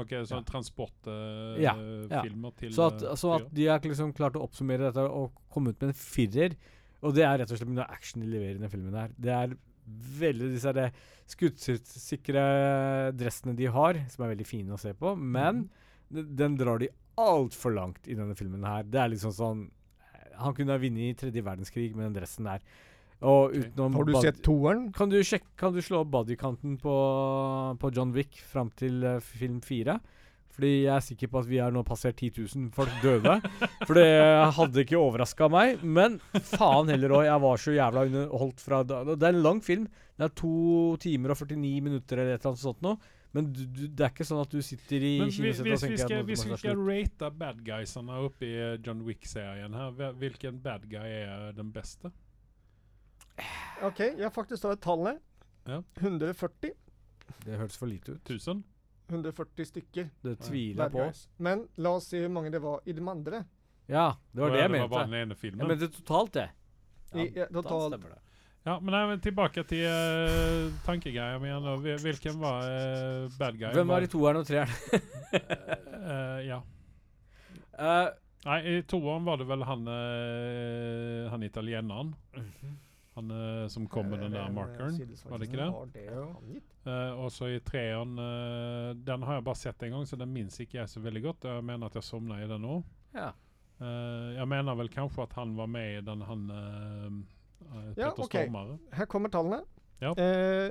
Ok, så Ja. transportfilmer Ja, ja. til Så at, eh, så at fyra. de har liksom klart å oppsummere dette og komme ut med en firer. Og det er rett og slett noe action de leverer i den filmen her. Det er veldig disse her, eh, skuddsikre dressene de har, som er veldig fine å se på, Mhm. men d- den drar de altfor langt i denne filmen her. Det er liksom sånn eh, Han kunne ha vunnet i tredje verdenskrig med den dressen der. Og Ok. utenom Har du body- sett toeren? kan du, sjekke, kan du slå opp bodycounten på, på John Wick fram til eh, film fire? Fordi jeg er sikker på at vi har nå passert 10 000 folk døde. For det eh, hadde ikke overraska meg. Men faen heller òg, jeg var så jævla underholdt fra da. Det er en lang film. Det er to timer og 49 minutter eller et eller annet sånt nå. Men du, du, det er ikke sånn at du sitter i Men vi- kinosetet og hvis vi tenker skal, at nå hvis må vi det skal være slutt. rate bad guysene oppe i eh, John Wick-serien her, hva- hvilken bad guy er eh, den beste? OK, jeg har faktisk tatt tallene. Ja. 140. Det hørtes for lite ut. 1000? 140 stykker. Det tviler bad jeg på. guys. Men la oss se hvor mange det var i de andre. Ja, det var Å det ja, jeg Det var mente. bare den ene filmen. Jeg mente totalt, det. I, ja, da total, stemmer det. Ja, men, nei, men tilbake til uh, tankegreia mi igjen. da. Hvil- Hvilken var eh, bad guy? Hvem var i toeren og treeren? Eh, ja. Eh, Nei, i toeren var det vel han eh, Han italieneren. Mhm. Han eh, som kom med den der markeren. var det ikke det? Eh, og så i treeren eh, Den har jeg bare sett en gang, så den minnes ikke jeg så veldig godt. Jeg mener at jeg sovna i den òg. ja. jeg mener vel kanskje at han var med i den han eh, eh, Ja, Petter ok. Stormare. Her kommer tallene. Ja. Eh,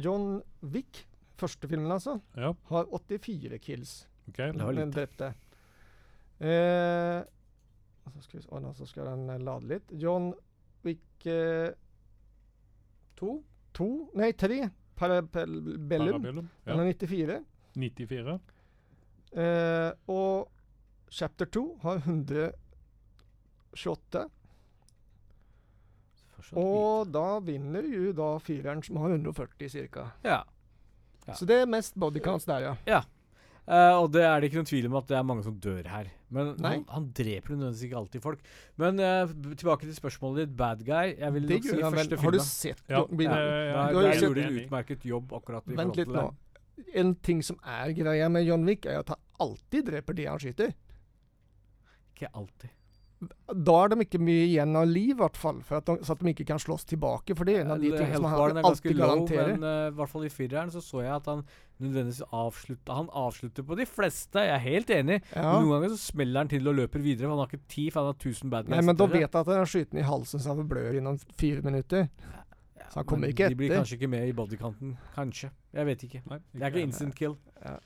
John Wick, første filmen altså, Ja, har 84 kills. ok. Det var Den lite. drepte. Eh, så skal vi, s- å, nå så skal den eh, lade litt. John Wick eh, To? to, nei tre, Parabellum. Parabellum. Den Ja. har 94. 94. Eh, og chapter 2 har 128. Og da vinner jo da fireren, som har 140 ca. Ja. Ja. Så det er mest bodycounts der, ja. Eh, og det er det ikke noen tvil om at det er mange som dør her. Men Nei. han, han dreper nødvendigvis ikke alltid folk. Men eh, b- tilbake til spørsmålet ditt, bad guy. Jeg vil Det nok si gjør han vel. første Har du filmen. sett Ja, eh, John Wick? det- Der, Du har jo der sett- gjorde en Enig. utmerket jobb akkurat i Vent forhold litt til nå. den. En ting som er greia med John Wick, er at han alltid dreper de han skyter. Ikke alltid. Da er de ikke mye igjen av liv, i hvert fall. For at de, så at de ikke kan slåss tilbake. For det er en av de Eh, tingene som healthbaren han er ganske alltid low, garanterer. Men eh, i hvert fall i fireren så så jeg at han nødvendigvis avslutta Han avslutter på de fleste, jeg er helt enig. Ja. Men noen ganger så smeller han til og løper videre, for han har ikke tid, for han har 1000 bad guys. Nei, men da etter det. vet jeg at han skyter den i halsen så han blør innen fire minutter. Ja, så han kommer men ikke De blir etter. kanskje ikke med i bodykanten. Kanskje. Jeg vet ikke. Nei, Det er ikke instant kill. Ja.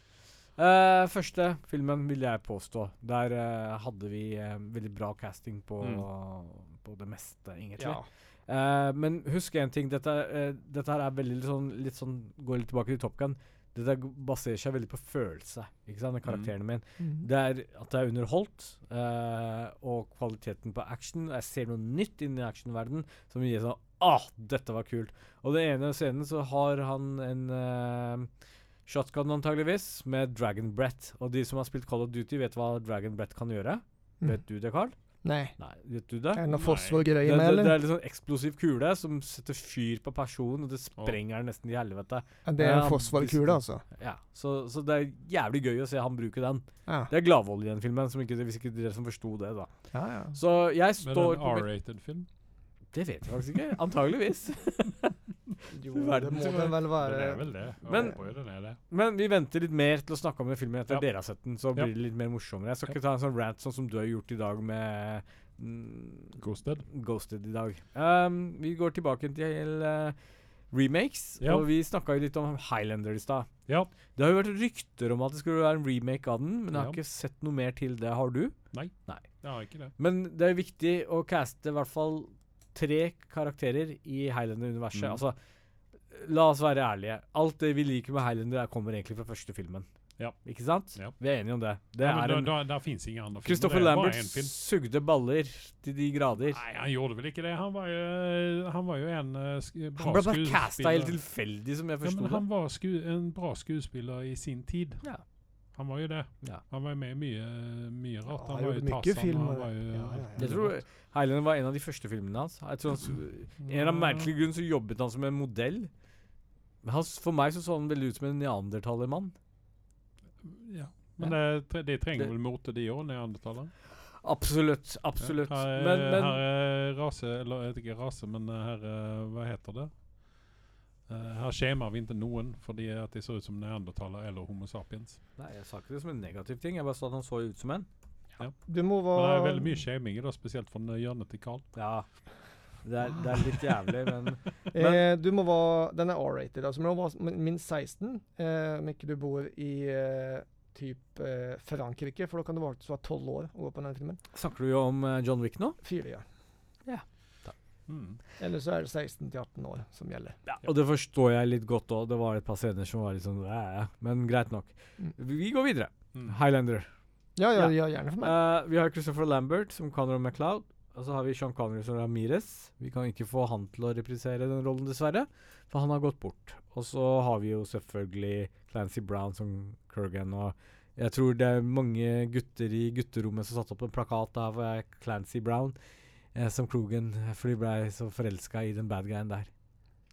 Eh, første filmen vil jeg påstå. Der eh, hadde vi eh, veldig bra casting på, på det meste, egentlig. Ja. Eh, men husk én ting. Dette, eh, dette her er veldig litt sånn, litt sånn Går litt tilbake til Top Gun. Dette g- baserer seg veldig på følelse. Ikke sant? Det er Karakteren min. Det er at det er underholdt, eh, og kvaliteten på action. Jeg ser noe nytt innen actionverden som gir sånn Ah, dette var kult. Og den ene scenen så har han en eh, shotgun, antageligvis, med Dragon Brett. Og de som har spilt Call of Duty, vet hva Dragon Brett kan gjøre. Mm. Vet du det, Carl? Nei. Nei, vet du det? Er det noe Nei. fosforgreier Det, det, med, det eller? er litt sånn eksplosiv kule som setter fyr på personen, og det sprenger den nesten i helvete. Ja, Det er Ja, en fosforkule, altså. Ja, så, så det er jævlig gøy å se han bruke den. Ja, Det er gladvold i den filmen, som ikke, hvis ikke dere som forsto det, da. ja. ja. Så jeg Men en står på mitt- R-rated film? Det vet jeg faktisk ikke. Antageligvis. Jo, det Verden må som den vel Den være er vel det. Jeg Men- håper jo den er det. Men vi venter litt mer til å snakke om den filmen etter Ja. dere har sett den. Så Ja. blir det litt mer morsommere. Jeg skal ikke ta en sånn rant sånn som du har gjort i dag med mm, Ghosted. Ghosted i dag. Um, vi går tilbake til eh, remakes, Ja. og vi snakka jo litt om Highlander i stad. Ja. Det har jo vært rykter om at det skulle være en remake av den, men jeg har Ja. ikke sett noe mer til det. Har du? Jeg har ikke det. Men det er viktig å caste i hvert fall tre karakterer i Highlander-universet. Mm. Altså, la oss være ærlige. Alt det vi liker med Highlander, er- kommer egentlig fra første filmen. Ja. Ikke sant? Ja. Vi er enige om det. Det Ja, men er da, en da, der finnes ingen andre filmer. Christopher Det er bare Lambert én film. sugde baller til de grader. Nei, han gjorde vel ikke det. Han var jo, han var jo en eh, sk bra Han ble bare casta skuespiller. helt tilfeldig, som jeg Ja, men forsto det. han var sku en bra skuespiller i sin tid. Ja. Han var jo det. Ja. Han var jo med i mye, mye rart. Ja, han, han var jo gjorde mye Tarzan, filmer. Han var jo, Ja, ja, ja. Jeg tror Highlander var en av de første filmene hans. Jeg tror han, s- en eller Mm. annen merkelig grunn så jobbet han som en modell. Men han, s- for meg så så han veldig ut som en neandertalermann. Ja. Men det, tre- de trenger vel mote, de òg, neandertalere? Absolutt. Absolutt. Her er, Men, men her er rase Eller jeg vet ikke rase, men eh, her eh, Hva heter det? Eh, her skjemaer vi ikke noen fordi at de ser ut som neandertalere eller Homo sapiens. Nei, jeg sa ikke det som en negativ ting. Jeg bare sa at han så ut som en. Du Men må det er være veldig mye skjeming, i det, spesielt fra hjørnet til Carl. Ja. Det er, det er litt jævlig, men eh, Du må være Den er R-rated, altså. Men du må være minst 16, eh, om ikke du bor i eh, typ eh, Frankrike, for da kan du faktisk være 12 år og gå på den filmen. Snakker du jo om eh, John Wick nå? Fire, ja. Mm. Eller så er det 16 til 18 år som gjelder. Ja. Og det forstår jeg litt godt òg. Det var et par scener som var litt sånn "Æ", Men greit nok. Mm. Vi går videre. Mm. Highlander. Ja, ja, Ja. ja, gjerne for meg. Eh, vi har Christopher Lambert som Conor MacLeod. Og så har vi Sean Connery som Ramirez. Vi kan ikke få han til å reprisere den rollen, dessverre. For han har gått bort. Og så har vi jo selvfølgelig Clancy Brown som Kurgan. Og jeg tror det er mange gutter i gutterommet som satte opp en plakat der hvor jeg er Clancy Brown eh, som Krogan. For de blei så forelska i den bad guyen der.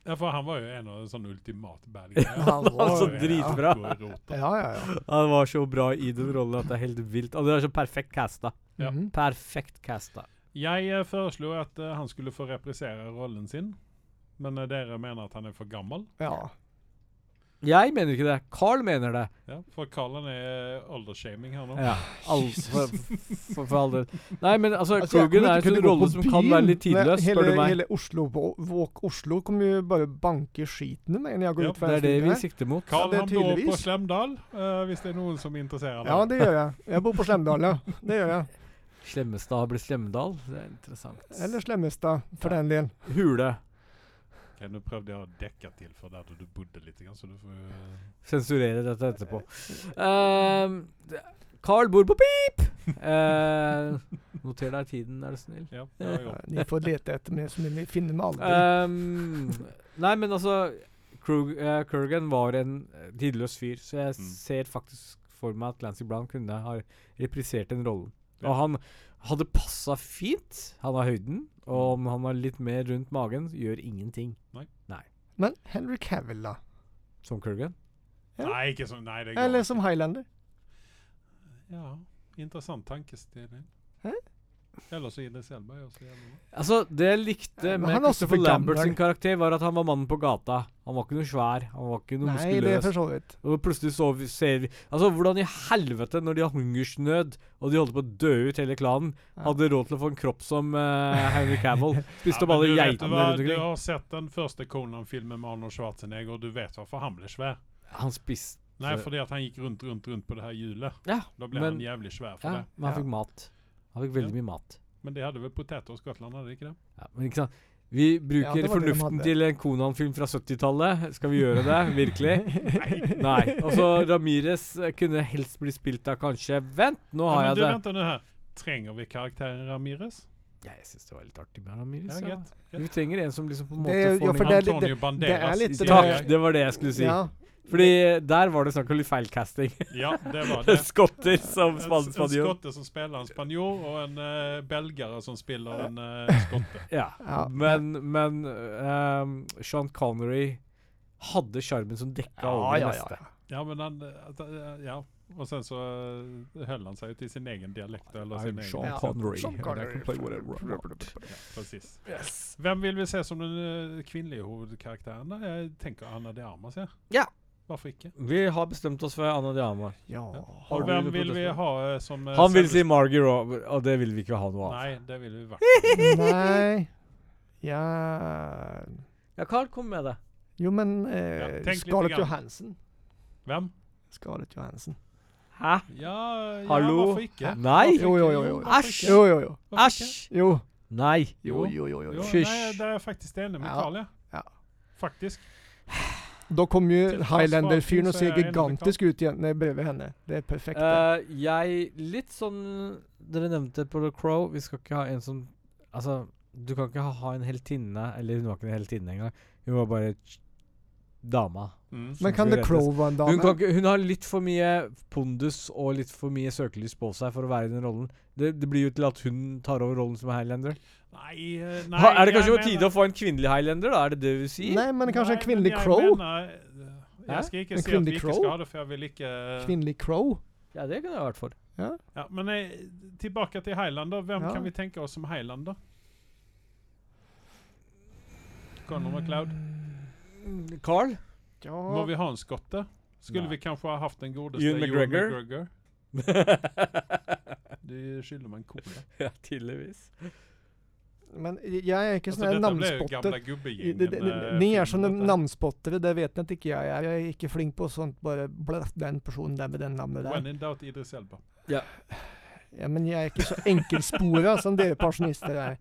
Ja, for han var jo en av de sånne ultimate bad guys. han var jo var så en Altså, dritbra. alkoholroter. Ja, ja, ja. Han var så bra i den rollen at det er helt vilt. Og det er så perfekt casta. Ja. Mhm. Perfekt casta. Jeg eh, foreslo at eh, han skulle få reprisere rollen sin, men eh, dere mener at han er for gammel. ja. Jeg mener ikke det. Carl mener det. Ja, for Carl han er eh, aldershaming her nå. Ja. All, for, for, for all del. Nei, men altså, Altså, jeg Krogen kommer er en ikke til sånn å gå rolle på som kan byen. være litt Nei, tidløs, spør du hele, meg. Hele Oslo, Våk Oslo kommer jo bare banke skiten i meg når jeg går Ja, ut fra Det er det den stigen vi her. sikter mot. Carl han Ja, det er bor på tydeligvis. Slemdal, eh, hvis det er noen som interesserer Ja, deg. det gjør jeg. Jeg bor på Slemdal, ja. Det gjør jeg. Slemmestad har blitt Slemdal. Det er interessant. Eller Slemmestad, for den del. Hule. Ok, nå prøvde jeg å dekke til for der du bodde litt, grann, så du får jo, eh, Sensurere dette etterpå. Ehm, det- Carl bor på pip! Eh, noter deg tiden, er du snill. Ja, det har jeg gjort. Ni får lete etter meg, så ni finner meg aldri. Eh. Ehm, nei, men altså Krug, eh, Kurgan var en eh, tidløs fyr, så jeg Mm. ser faktisk for meg at Clancy Brown kunne ha reprisert den rollen. Og Ja. han hadde passa fint. Han har høyden, og om han har litt mer rundt magen, så gjør ingenting Men Henry Cavill, da? som Kurgan. Ja. Nei, ikke sånn. Nei, det går Eller ikke. som Highlander? Ja, interessant tankestilling. Hæ? Eller så Idris Elba gjør så jævlig bra. Altså, det jeg likte Men med han er også Christopher for Lambert sin gammel. karakter, var at han var mannen på gata. Han var ikke noe svær, han var ikke noe Nei, det er muskuløs. for så vidt. Og plutselig så vi, ser vi Altså, hvordan i helvete, når de har hungersnød, og de holder på å dø ut hele klanen, Ja. hadde råd til å få en kropp som eh, Henry Cavill? Spiste opp alle men du vet geitene hva, rundt Du omkring. har sett den første Conan-filmen med Arnold Schwarzenegger, og du vet hvorfor han ble svær. Han spiste Nei, Så- fordi at han gikk rundt, rundt, rundt på det her hjulet. Ja, Da ble han men- jævlig svær for ja, det. men han Ja. fikk mat. Han fikk veldig Ja. mye mat. Men de hadde vel poteter i Skottland, hadde de ikke det? Ja, men ikke sant Vi Ja, bruker det var det de fornuften hadde. til en Konan-film fra 70-tallet. Skal vi gjøre det? Virkelig? Nei. Altså, Ramirez kunne helst bli spilt av kanskje Vent, nå Ja, har men jeg du, det. vent nå her. Trenger vi karakteren Ramirez? Ja, jeg syns det var litt artig med Ramirez. Ja, Ja, greit. Vi trenger en som liksom på en Det måte er jo- ja, får for ned det er litt- Antonio Banderas. litt i det Jack Takk, det var det jeg skulle si. Ja. Fordi der var det snakk om litt feilcasting. Ja, det var det. Skotter som En, span- en spanjol. skotte som spiller en spanjol, og en eh, belgere som spiller en eh, skotte. Ja. Ja. Men, men ehm, Sean Connery hadde sjarmen som dekka over det meste. Ja, men han eh, at, eh, Ja. Og sen så eh, høll han seg jo til sin egen dialekt. Eller sin I'm Sean egen Ja. Connery. Sean and I Connery. can play whatever I want. ja, precis. Hvem vil vi se som den eh, kvinnelige hovedkarakteren? da? Jeg tenker Anna de Armas, jeg. Ja. Hvorfor ikke? Vi har bestemt oss for Anna Diama. Ja. Og Har vi hvem det på vil vi listen? ha eh, som eh, Han vil selveste- si Margie Rover, og det vil vi ikke ha noe av. Nei, det vil vi i hvert fall. Nei Ja Ja, Carl, kom med det. Jo, men Ja, eh, tenk litt Scarlett grann. Johansen. Hvem? Scarlett Johansen. Hæ? Ja, Hallo? ja hvorfor ikke? Nei! Jo, jo, jo, jo. Hvorfor Æsj! ikke? Jo, jo, jo. Hvorfor Æsj! ikke? Jo. Nei. Jo. jo, jo, jo, Jo, jo. Fysj. Nei, det er jeg faktisk enig med Ja. Carl, ja. Ja. Faktisk. Da kom jo Til tross for allting, Highlander-fyren og så er ser jeg enig med gigantisk ut igjen når jeg brevet henne. Det er perfekt. det. Eh, jeg Litt sånn Dere nevnte på The Crow Vi skal ikke ha en som Altså, du kan ikke ha, ha en heltinne Eller hun var ikke en heltinne engang. Hun var bare ch- dama. Mm. Men Som kan The skal Crow være en Hun, kan dame? ikke, hun har litt for mye pondus og litt for mye søkelys på seg for å være i den rollen. Det, det blir jo til at hun tar over rollen som Highlander. Nei, eh, nei ha, er det kanskje jeg på tide mener- å få en kvinnelig Highlander, da? Er det det du sier? Nei, men kanskje en Nei, kvinnelig men crow? Jeg, mener, eh, Hæ? jeg skal ikke En si at vi kvinnelig ikke crow? skal ha det, for jeg vil ikke Kvinnelig crow? Ja, det kunne jeg vært for. ja, Men eh, tilbake til Highlander. Hvem Ja. kan vi tenke oss som Highlander? Conor MacLeod. Carl? Ja Må vi ha en skotte? Skulle Nei. vi kanskje ha hatt den godeste Ewan McGregor? Ewan McGregor? Du skylder meg en cola. ja, tydeligvis. Men jeg er ikke Altså, sånn dette ble jo namspotter. gamle I- det- det- gubbegjengen. eh, det- Ni er film, sånne dette. navnspottere, det vet jeg at ikke jeg er. Jeg er ikke flink på sånt. Bare blæh, den personen der med den navnet When der. in doubt, Idris Elba. Ja, men jeg er ikke så enkeltspora som dere pensjonister er.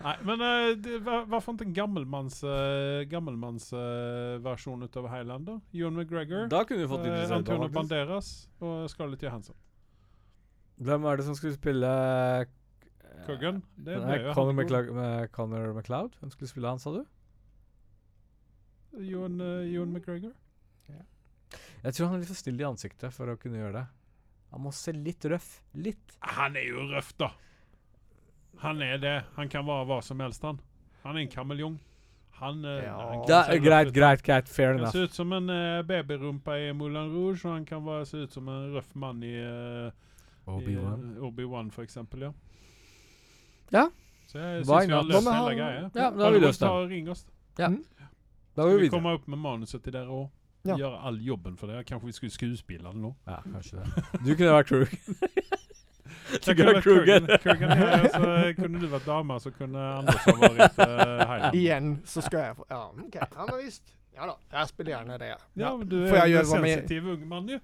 Nei, men eh, det, hva, hvorfor ikke en gammelmannsversjon gammelmanns, eh, versjon ut av Highlander? Ewan McGregor, Da kunne vi fått eh, Idris Elba, Antonio faktisk. Banderas og Scarlett Johansson. Hvem er det som skulle spille eh, Cuggan? Det Nei, ble jo Conor, han god. McLeod, Conor McLeod. Hvem skulle spille han, sa du? Ewan, eh, Ewan McGregor. Jeg tror han er litt for stille i ansiktet for å kunne gjøre det. Han må se litt røff. Litt. Han er jo røff, da! Han er det. Han kan være hva som helst, han. Han er en kameleon. Han, eh, Ja. han kan Ja, se røff greit, ut. greit, greit. Fair Han kan enough. se ut som en eh, babyrumpa i Moulin Rouge, og han kan være, se ut som en røff mann i eh, i, eh, Obi-Wan, for eksempel, ja. Ja. Så jeg Why syns vi har not? løst Men hele han- greia. Ja, da har vi Bare løst ta den. og Ring oss. Da Skal går vi vi videre. komme opp med manuset til dere òg? Ja. Gjøre all jobben for dere? Kanskje vi skulle skuespille det nå? Ja, kanskje det. Du kunne vært Krug. Jeg kunne vært Krugen. Krugen, ja, ja, så kunne du vært dame, så kunne Andersson vært uh, Heiland. Igjen så skal jeg få Ja, OK. Ja, men visst. Ja da. Jeg spiller gjerne det. Ja, men du Får er jeg en gjøre hva med- Eh, sensitiv ung mann, jo.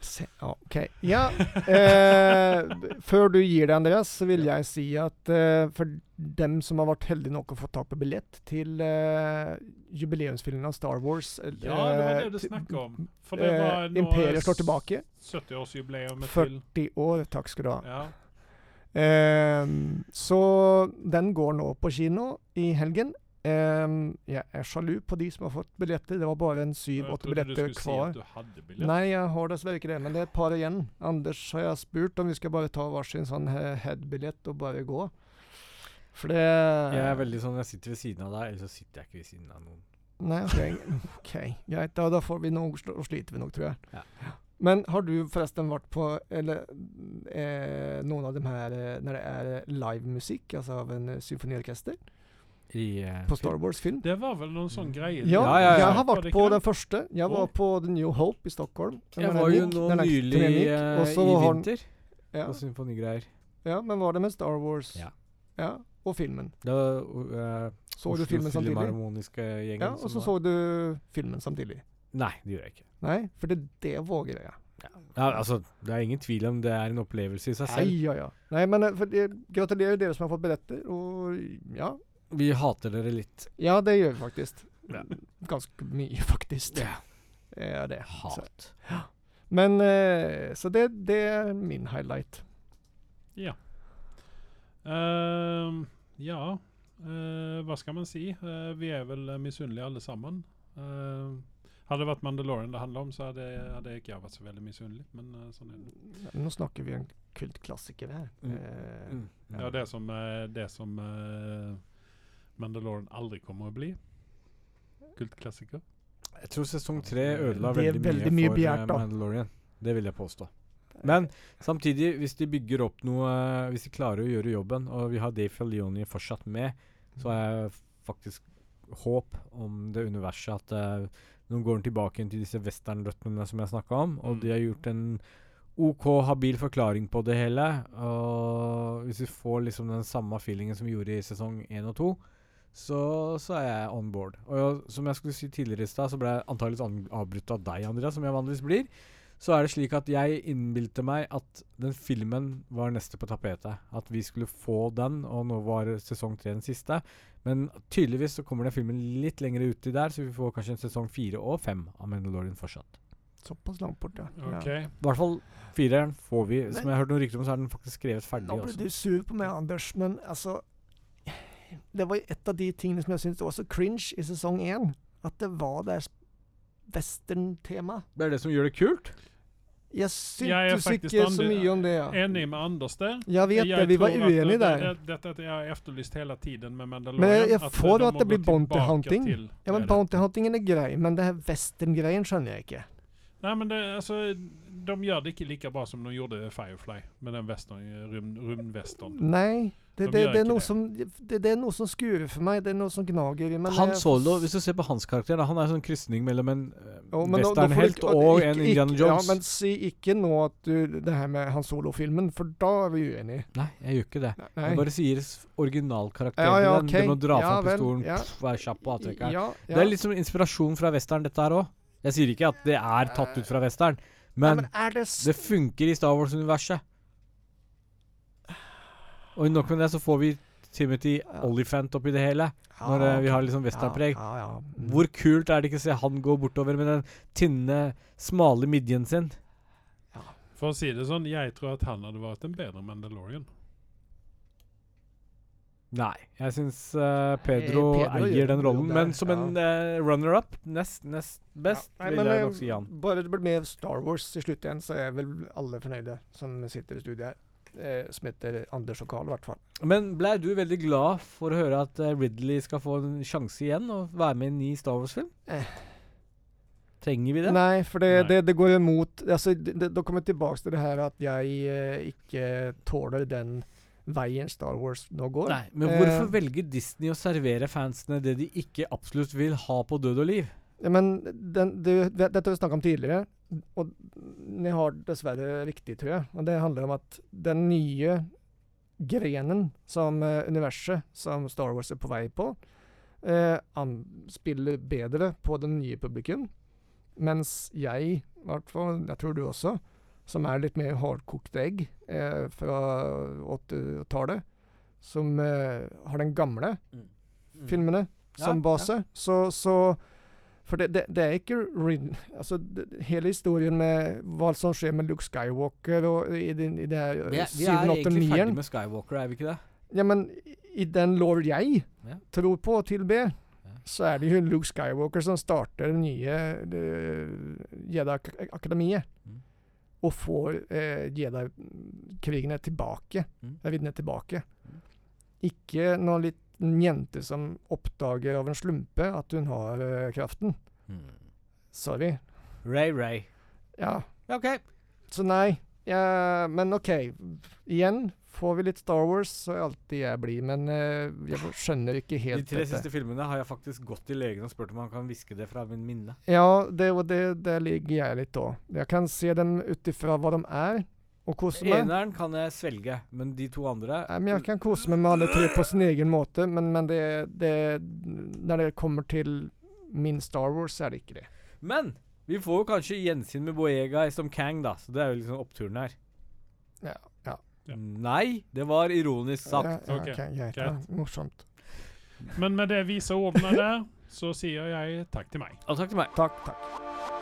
Se, OK. Ja. Eh, før du gir deg, Andreas, så vil jeg si at eh, for dem som har vært heldige nok å få tak på billett til eh, jubileumsfilmen av Star Wars Ja, eh, det var det du til- snakka om. For det eh, var nå Imperiet slår tilbake. 70-årsjubileumet til 40 år, takk skal du ha. ja. Ehm, så den går nå på kino i helgen. Ehm, jeg er sjalu på de som har fått billetter. Det var bare en Jeg syv-åtte trodde du billetter skulle si kvar. at du hadde billett. Nei, jeg har dessverre ikke det, men det er et par igjen. Anders har jeg spurt om vi skal bare ta hver sin sånn he- head-billett og bare gå. For det Jeg er veldig sånn, jeg sitter ved siden av deg, eller så sitter jeg ikke ved siden av noen. Nei, ok, ok, greit. Da, da får vi noe, sl- sliter vi nok, tror jeg. Ja. Men har du förresten varit på eller, eh, någon av de här eh, när det är livemusik, alltså av en eh, symfoniorkester? I eh, På Star Wars film? Det var vel noen sånn greie? Ja, Ja, ja, ja. jag har varit på den den första. Jag var Oj. på The New Hope i Stockholm. Jeg Den här var jo gick- nå den här nylig turnén gick. eh, Och så i har- vinter Ja, på symfonigreier. ja, men var det med Star Wars? Ja. Ja, och filmen. Det var uh, Såg du filmen samtidigt? Filmharmoniske gjengen. Ja, och som så var- såg du filmen samtidigt. Nei, det gjorde jeg ikke. Nej, för det, det vågar jag. Ja, altså, Det er ingen tvil om det er en opplevelse i seg selv. Nej, ja, ja. Nej, men eh, för det, gratulerar ju er som har fått biljetter och ja, Vi hater dere litt. ja det gör vi faktiskt. Ja. Ganska mycket faktiskt. Ja. Ja, det. Så, Hat. men eh, så det, det är min highlight. Ja. Ehm, ja, eh, hva skal man si? Eh, vi er vel eh, misunnelige alle sammen. Ehm, hadde det vært Mandalorian det handla om, så hadde, hadde ikke jeg vært så veldig misunnelig. Men eh, sånn er det. Nu snackar vi en kultklassiker här. Mm. Eh, Mm. Det er det som, eh, det som eh, Mandalorian aldri kommer å bli. Kultklassiker. Jeg tror sesong tre ødela Det er veldig, veldig mye mye for begjært, eh, da. Mandalorian. Det vil jeg påstå. Men samtidig, hvis de bygger opp noe eh, Hvis de klarer å gjøre jobben, og vi har Dave Felioni fortsatt med, så har jeg faktisk håp om det universet at eh, nå går han tilbake inn til disse westernrøttene som jeg snakka om, og Mm. de har gjort en OK habil forklaring på det hele. Og hvis vi får liksom den samme feelingen som vi gjorde i sesong én og to, så, så er jeg on board. Og som jeg skulle si tidligere i stad, så ble jeg antakeligvis an avbrutt av deg, Andreas, som jeg vanligvis blir. Så er det slik at jeg innbilte meg at den filmen var neste på tapetet. At vi skulle få den, og nå var sesong tre den siste. Men tydeligvis så kommer den filmen litt lenger uti der, så vi får kanskje en sesong fire og fem av Mandalorian fortsatt. Så pass långt bort ja. OK. ja. I hvert fall fireren får vi. Som jeg har hørt noen rykter om, så er den faktisk skrevet ferdig altså. Nå ble også. du sur på meg, Anders, men altså Det var jo et av de tingene som jeg syntes var så cringe i sesong én. At det var det western-temaet. Det er det som gjør det kult. Jeg Jeg er syntes faktisk ikke så andre- mye om det. Ja. Enig med Anders der. Jeg vet det, vi var tror at det- uenige der. det- Dette at jeg har efterlyst hele tiden med Mandalorian. Men jeg- jeg at, eh, får de at det må blir gå bounty tilbake hunting. til Ja, men det. Bounty Huntingen er grei, men det her western-greien skjønner jeg ikke. Nei, men det, altså, de gjør det ikke like bra som de gjorde Firefly, med den western, rym- rymdwestern. Nei. De Det, det, gjør ikke det, er noe det. som, det, det er noe som skurer for meg. Det er noe som gnager i meg. Han Jeg- Solo, hvis du ser på hans karakter, da, han er en sånn krysning mellom en eh, Jo, men nå- nå får du westernhelt ikke- og ikke- en ikke- Indiana Jones. Ja, men si ikke nå at du Det her med Han Solo-filmen, for da er vi uenige. Nei, jeg gjør ikke det. Nei. Jeg bare sier s- originalkarakteren. Ja, Ja, ja, ja, ok. Den må dra Ja, fram vel, pistolen, ja. pff, være kjapp på avtrekkeren. Ja, ja. Det er litt som inspirasjon fra western, dette her òg. Jeg sier ikke at det er tatt ut fra western, Nei, men men er det s det funker i Star Wars-universet. Og nok med det, så får vi Timothy Ja. Oliphant oppi det hele, Ja, når eh, ok. vi har liksom westernpreg. Ja, ja, ja. Mm. Hvor kult er det ikke å se han gå bortover med den tynne, smale midjen sin? For å si det sånn, jeg tror at han hadde vært en bedre Mandalorian. Nei. Jeg syns Pedro, Eh, Pedro gjør eier den jo rollen, det, men som en eh, runner-up, nest, nest best, Ja, nei, men, vil jeg eh, nok si han. Bare det blir mer Star Wars i slutt igjen, så er vel alle fornøyde som sitter i studiet her. Eh, som heter Anders og Carl, i hvert fall. Men blei du veldig glad for å høre at eh, Ridley skal få en sjanse igjen og være med i en ny Star Wars-film? Eh. Trenger vi det? Nei, for det, Nei. det, det går imot altså, det, det, Da kommer jeg tilbake til det her at jeg eh, ikke tåler den veien Star Wars nå går. Nei, Men Eh. hvorfor velger Disney å servere fansene det de ikke absolutt vil ha på død og liv? Ja, men den, det, det- dette har vi snakket om tidligere, og ni har dessverre riktig, tror jeg. Og det handler om at den nye grenen som eh, universet som Star Wars er på vei på, eh, an, spiller bedre på den nye publikum. Mens jeg, i hvert fall, jeg tror du også, som er litt mer hardkokte egg eh, fra 80-tallet, som eh, har den gamle Mm. filmene som Ja, base. Så, så For det, det, det er ikke Rid- altså, det, Hele historien med hva som skjer med Luke Skywalker og i, den- i det her Vi eh, er, vi er egentlig 789 ferdig -eren. med Skywalker, er vi ikke det? Ja, men i den lår jeg Ja. tror på og tilber, så er det jo Luke Skywalker som starter det nye eh, Jedi-akademiet. Mm. Og får eh, Jedi-krigene tilbake. Mm. Riddene tilbake. Ikke noen liten jente som oppdager av en slumpe at hun har eh, kraften. Sorry. Ray Ray. Ja. Ja, OK. Så nei. Ja, men OK. Igjen, får vi litt Star Wars, så er alltid jeg blid. Men eh, jeg skjønner ikke De helt tre dette. siste filmene har jeg faktisk gått til legen og spurt om han kan hviske det fra min minne. Ja, det, og det, der ligger jeg litt da. Jeg kan se dem ut ifra hva de er, og kose meg. Eneren kan jeg svelge, men de to andre Nei, men jeg kan kose meg med alle tre på sin egen måte, men, men det, det Når det kommer til min Star Wars, så er det ikke det. Men vi får jo kanskje gjensyn med Boega som Kang, da, så det er jo liksom oppturen her. Ja, ja. Ja. Nei, det var ironisk sagt. Ja, ja, Ok, ok, greit. Ja, greit. morsomt. Men med det vise ordene der, så sier jeg takk til meg. Og takk til meg. Takk, takk.